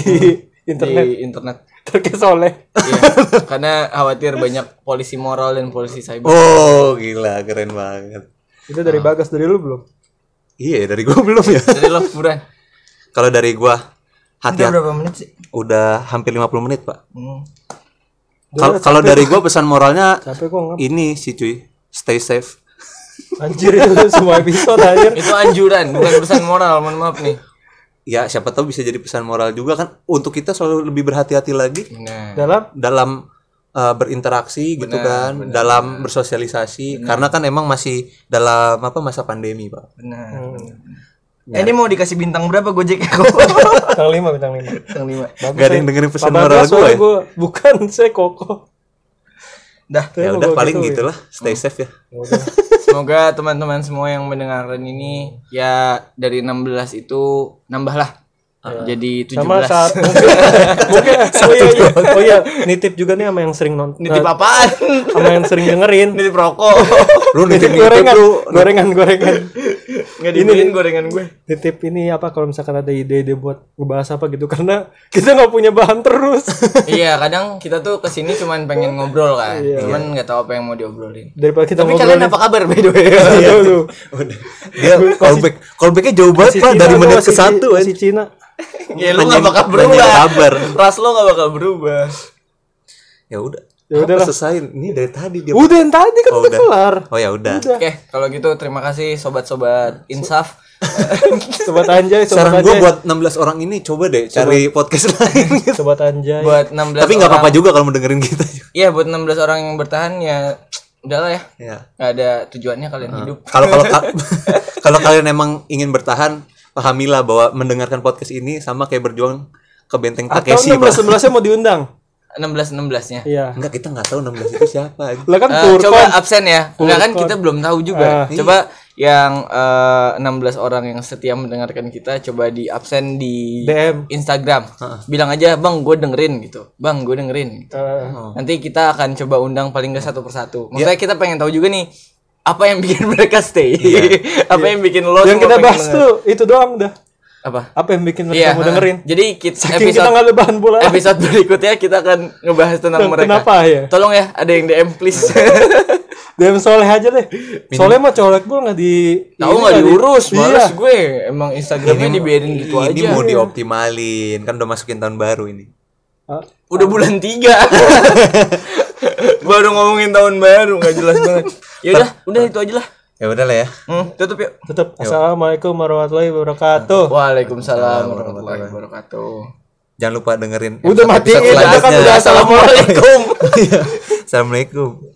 Speaker 2: internet ya.
Speaker 3: di internet.
Speaker 2: terkesoleh.
Speaker 3: Iya. Karena khawatir banyak polisi moral dan polisi cyber.
Speaker 1: Oh, gila, keren banget.
Speaker 2: Itu
Speaker 1: Ah.
Speaker 2: dari Bagas dari lu belum?
Speaker 1: Iya, dari gua belum ya.
Speaker 3: Jadi lo buruan.
Speaker 1: Kalau dari gua
Speaker 3: Udah
Speaker 1: hati-hati
Speaker 3: berapa menit sih?
Speaker 1: udah hampir 50 menit, Pak.
Speaker 3: Hmm.
Speaker 1: Kalau kalau dari gua pesan moralnya
Speaker 2: Capek gua ngap.
Speaker 1: ini sih cuy, stay safe.
Speaker 2: Anjir itu [laughs] semua episode anjir.
Speaker 3: Itu anjuran, bukan pesan moral, mohon maaf nih.
Speaker 1: Ya, siapa tahu bisa jadi pesan moral juga kan untuk kita selalu lebih berhati-hati lagi
Speaker 3: Nah,
Speaker 2: Dalam
Speaker 1: dalam uh, berinteraksi gitu kan, dalam bersosialisasi karena kan emang masih dalam apa masa pandemi, Pak.
Speaker 3: benar. benar. Eh, ini mau dikasih bintang berapa Gojek [laughs] aku?
Speaker 2: bintang 5 bintang 5.
Speaker 3: bintang 5.
Speaker 1: Gak ada yang dengerin pesan
Speaker 2: Bapak
Speaker 1: moral
Speaker 2: Bagas,
Speaker 1: gue.
Speaker 2: soalnya
Speaker 1: Ya,
Speaker 2: gua bukan [laughs] saya koko.
Speaker 3: Dah,
Speaker 1: ya udah
Speaker 2: gua
Speaker 1: paling
Speaker 2: gitu,
Speaker 1: gitulah, stay safe ya.
Speaker 3: semoga teman-teman semua yang mendengarkan ini ya dari 16 itu nambahlah Jadi 17.
Speaker 2: Sama saat mungkin [laughs] mungkin
Speaker 1: [laughs]
Speaker 2: oh iya, iya. oh iya nitip juga nih sama yang sering nonton
Speaker 3: Nitip [laughs] apaan?
Speaker 2: sama yang sering dengerin
Speaker 3: Nitip rokok.
Speaker 1: Lu nitip
Speaker 2: gorengan
Speaker 1: lu
Speaker 2: gorengan gorengan
Speaker 3: Enggak dibeliin gorengan gue.
Speaker 2: nitip ini apa kalau misalkan ada ide-ide buat ngebahas apa gitu karena kita nggak punya bahan terus
Speaker 3: iya, kadang kita tuh kesini cuman pengen ngobrol kan. Cuman nggak tahu apa yang mau diobrolin.
Speaker 2: daripada kita
Speaker 3: Tapi kalian apa kabar by the [laughs] way?
Speaker 2: dulu
Speaker 1: dia callback callbacknya jauh banget pak Iya. dari menit ke satu
Speaker 2: si Cina
Speaker 3: ya lu nggak bakal
Speaker 1: Nanya
Speaker 3: berubah.
Speaker 1: kabar.
Speaker 3: Ras lo nggak bakal berubah.
Speaker 1: ya udah
Speaker 2: Ya
Speaker 1: Apa
Speaker 2: udahlah.
Speaker 1: selesai ini dari tadi dia
Speaker 2: udah yang tadi kan
Speaker 1: Oh,
Speaker 2: udah
Speaker 1: udah.
Speaker 2: kelar
Speaker 1: oh ya udah
Speaker 3: Oke, kalau gitu terima kasih sobat-sobat
Speaker 1: [laughs]
Speaker 3: Insaf.
Speaker 2: sobat anjay
Speaker 1: sekarang
Speaker 2: sobat
Speaker 1: gua
Speaker 2: anjay
Speaker 1: buat 16 orang ini coba deh cari podcast [laughs] lain gitu.
Speaker 2: sobat anjay
Speaker 3: buat 16
Speaker 1: tapi nggak
Speaker 3: orang-
Speaker 1: apa-apa juga kalau mendengerin kita
Speaker 3: Iya, buat 16 orang yang bertahan ya udahlah ya.
Speaker 1: ya
Speaker 3: Nggak ada tujuannya kalian
Speaker 1: Ah.
Speaker 3: hidup.
Speaker 1: kalau kalau ka- [laughs] kalau kalian emang ingin bertahan pahamilah bahwa mendengarkan podcast ini sama kayak berjuang ke benteng
Speaker 2: atau
Speaker 1: Takeshi
Speaker 2: enam belas
Speaker 1: pak
Speaker 2: sebelasnya mau diundang
Speaker 3: 16 16-nya.
Speaker 2: iya
Speaker 1: enggak kita nggak tahu 16 itu
Speaker 2: [laughs]
Speaker 1: siapa
Speaker 2: lah kan
Speaker 3: Eh,
Speaker 2: tur
Speaker 3: coba absen ya. Enggak kan kita belum
Speaker 1: Ah.
Speaker 3: tahu juga. coba yang eh, 16 orang yang setia mendengarkan kita coba di absen di
Speaker 2: DM.
Speaker 3: Instagram.
Speaker 1: Ah.
Speaker 3: Bilang aja, "Bang, gue dengerin." gitu. "Bang, gue dengerin." gitu.
Speaker 2: Eh,
Speaker 3: Nanti kita akan coba undang paling nggak satu persatu. Maksudnya kita pengen tahu juga nih apa yang bikin [laughs] mereka stay. apa yang bikin lo semua
Speaker 2: yang kita
Speaker 3: pengen
Speaker 2: bahas
Speaker 3: denger.
Speaker 2: tuh itu doang dah
Speaker 3: apa?
Speaker 2: apa yang
Speaker 3: Iya,
Speaker 2: bikin
Speaker 3: eh,
Speaker 2: mereka mau
Speaker 3: heeh.
Speaker 2: dengerin
Speaker 3: Jadi kita
Speaker 2: Saking kita nggak ada bahan bola
Speaker 3: episode berikutnya kita akan ngebahas tentang
Speaker 2: Ken-
Speaker 3: mereka.
Speaker 2: kenapa ya?
Speaker 3: Tolong ya, ada yang DM please.
Speaker 2: DM Soleh aja deh Soleh mah colek gue nggak di
Speaker 3: [laughs] Tahu
Speaker 2: ini
Speaker 3: nggak
Speaker 2: di-
Speaker 3: diurus,
Speaker 2: iya.
Speaker 3: males gue. Emang Instagramnya dibiarin gitu
Speaker 1: ini
Speaker 3: aja.
Speaker 1: mau dioptimalin kan udah masukin tahun baru ini
Speaker 2: Ah,
Speaker 3: Udah bulan tiga. Baru ngomongin tahun baru nggak jelas [laughs] banget. Ya udah, udah itu aja lah.
Speaker 1: ya udah lah ya
Speaker 3: Hmm, tutup yuk.
Speaker 2: tetap assalamualaikum warahmatullahi wabarakatuh
Speaker 3: Waalaikumsalam warahmatullahi wabarakatuh.
Speaker 1: jangan lupa dengerin
Speaker 2: Udah
Speaker 1: episode-episode [laughs]
Speaker 2: matiin, udah kan
Speaker 1: selanjutnya.
Speaker 2: udah
Speaker 3: Assalamualaikum.
Speaker 1: assalamualaikum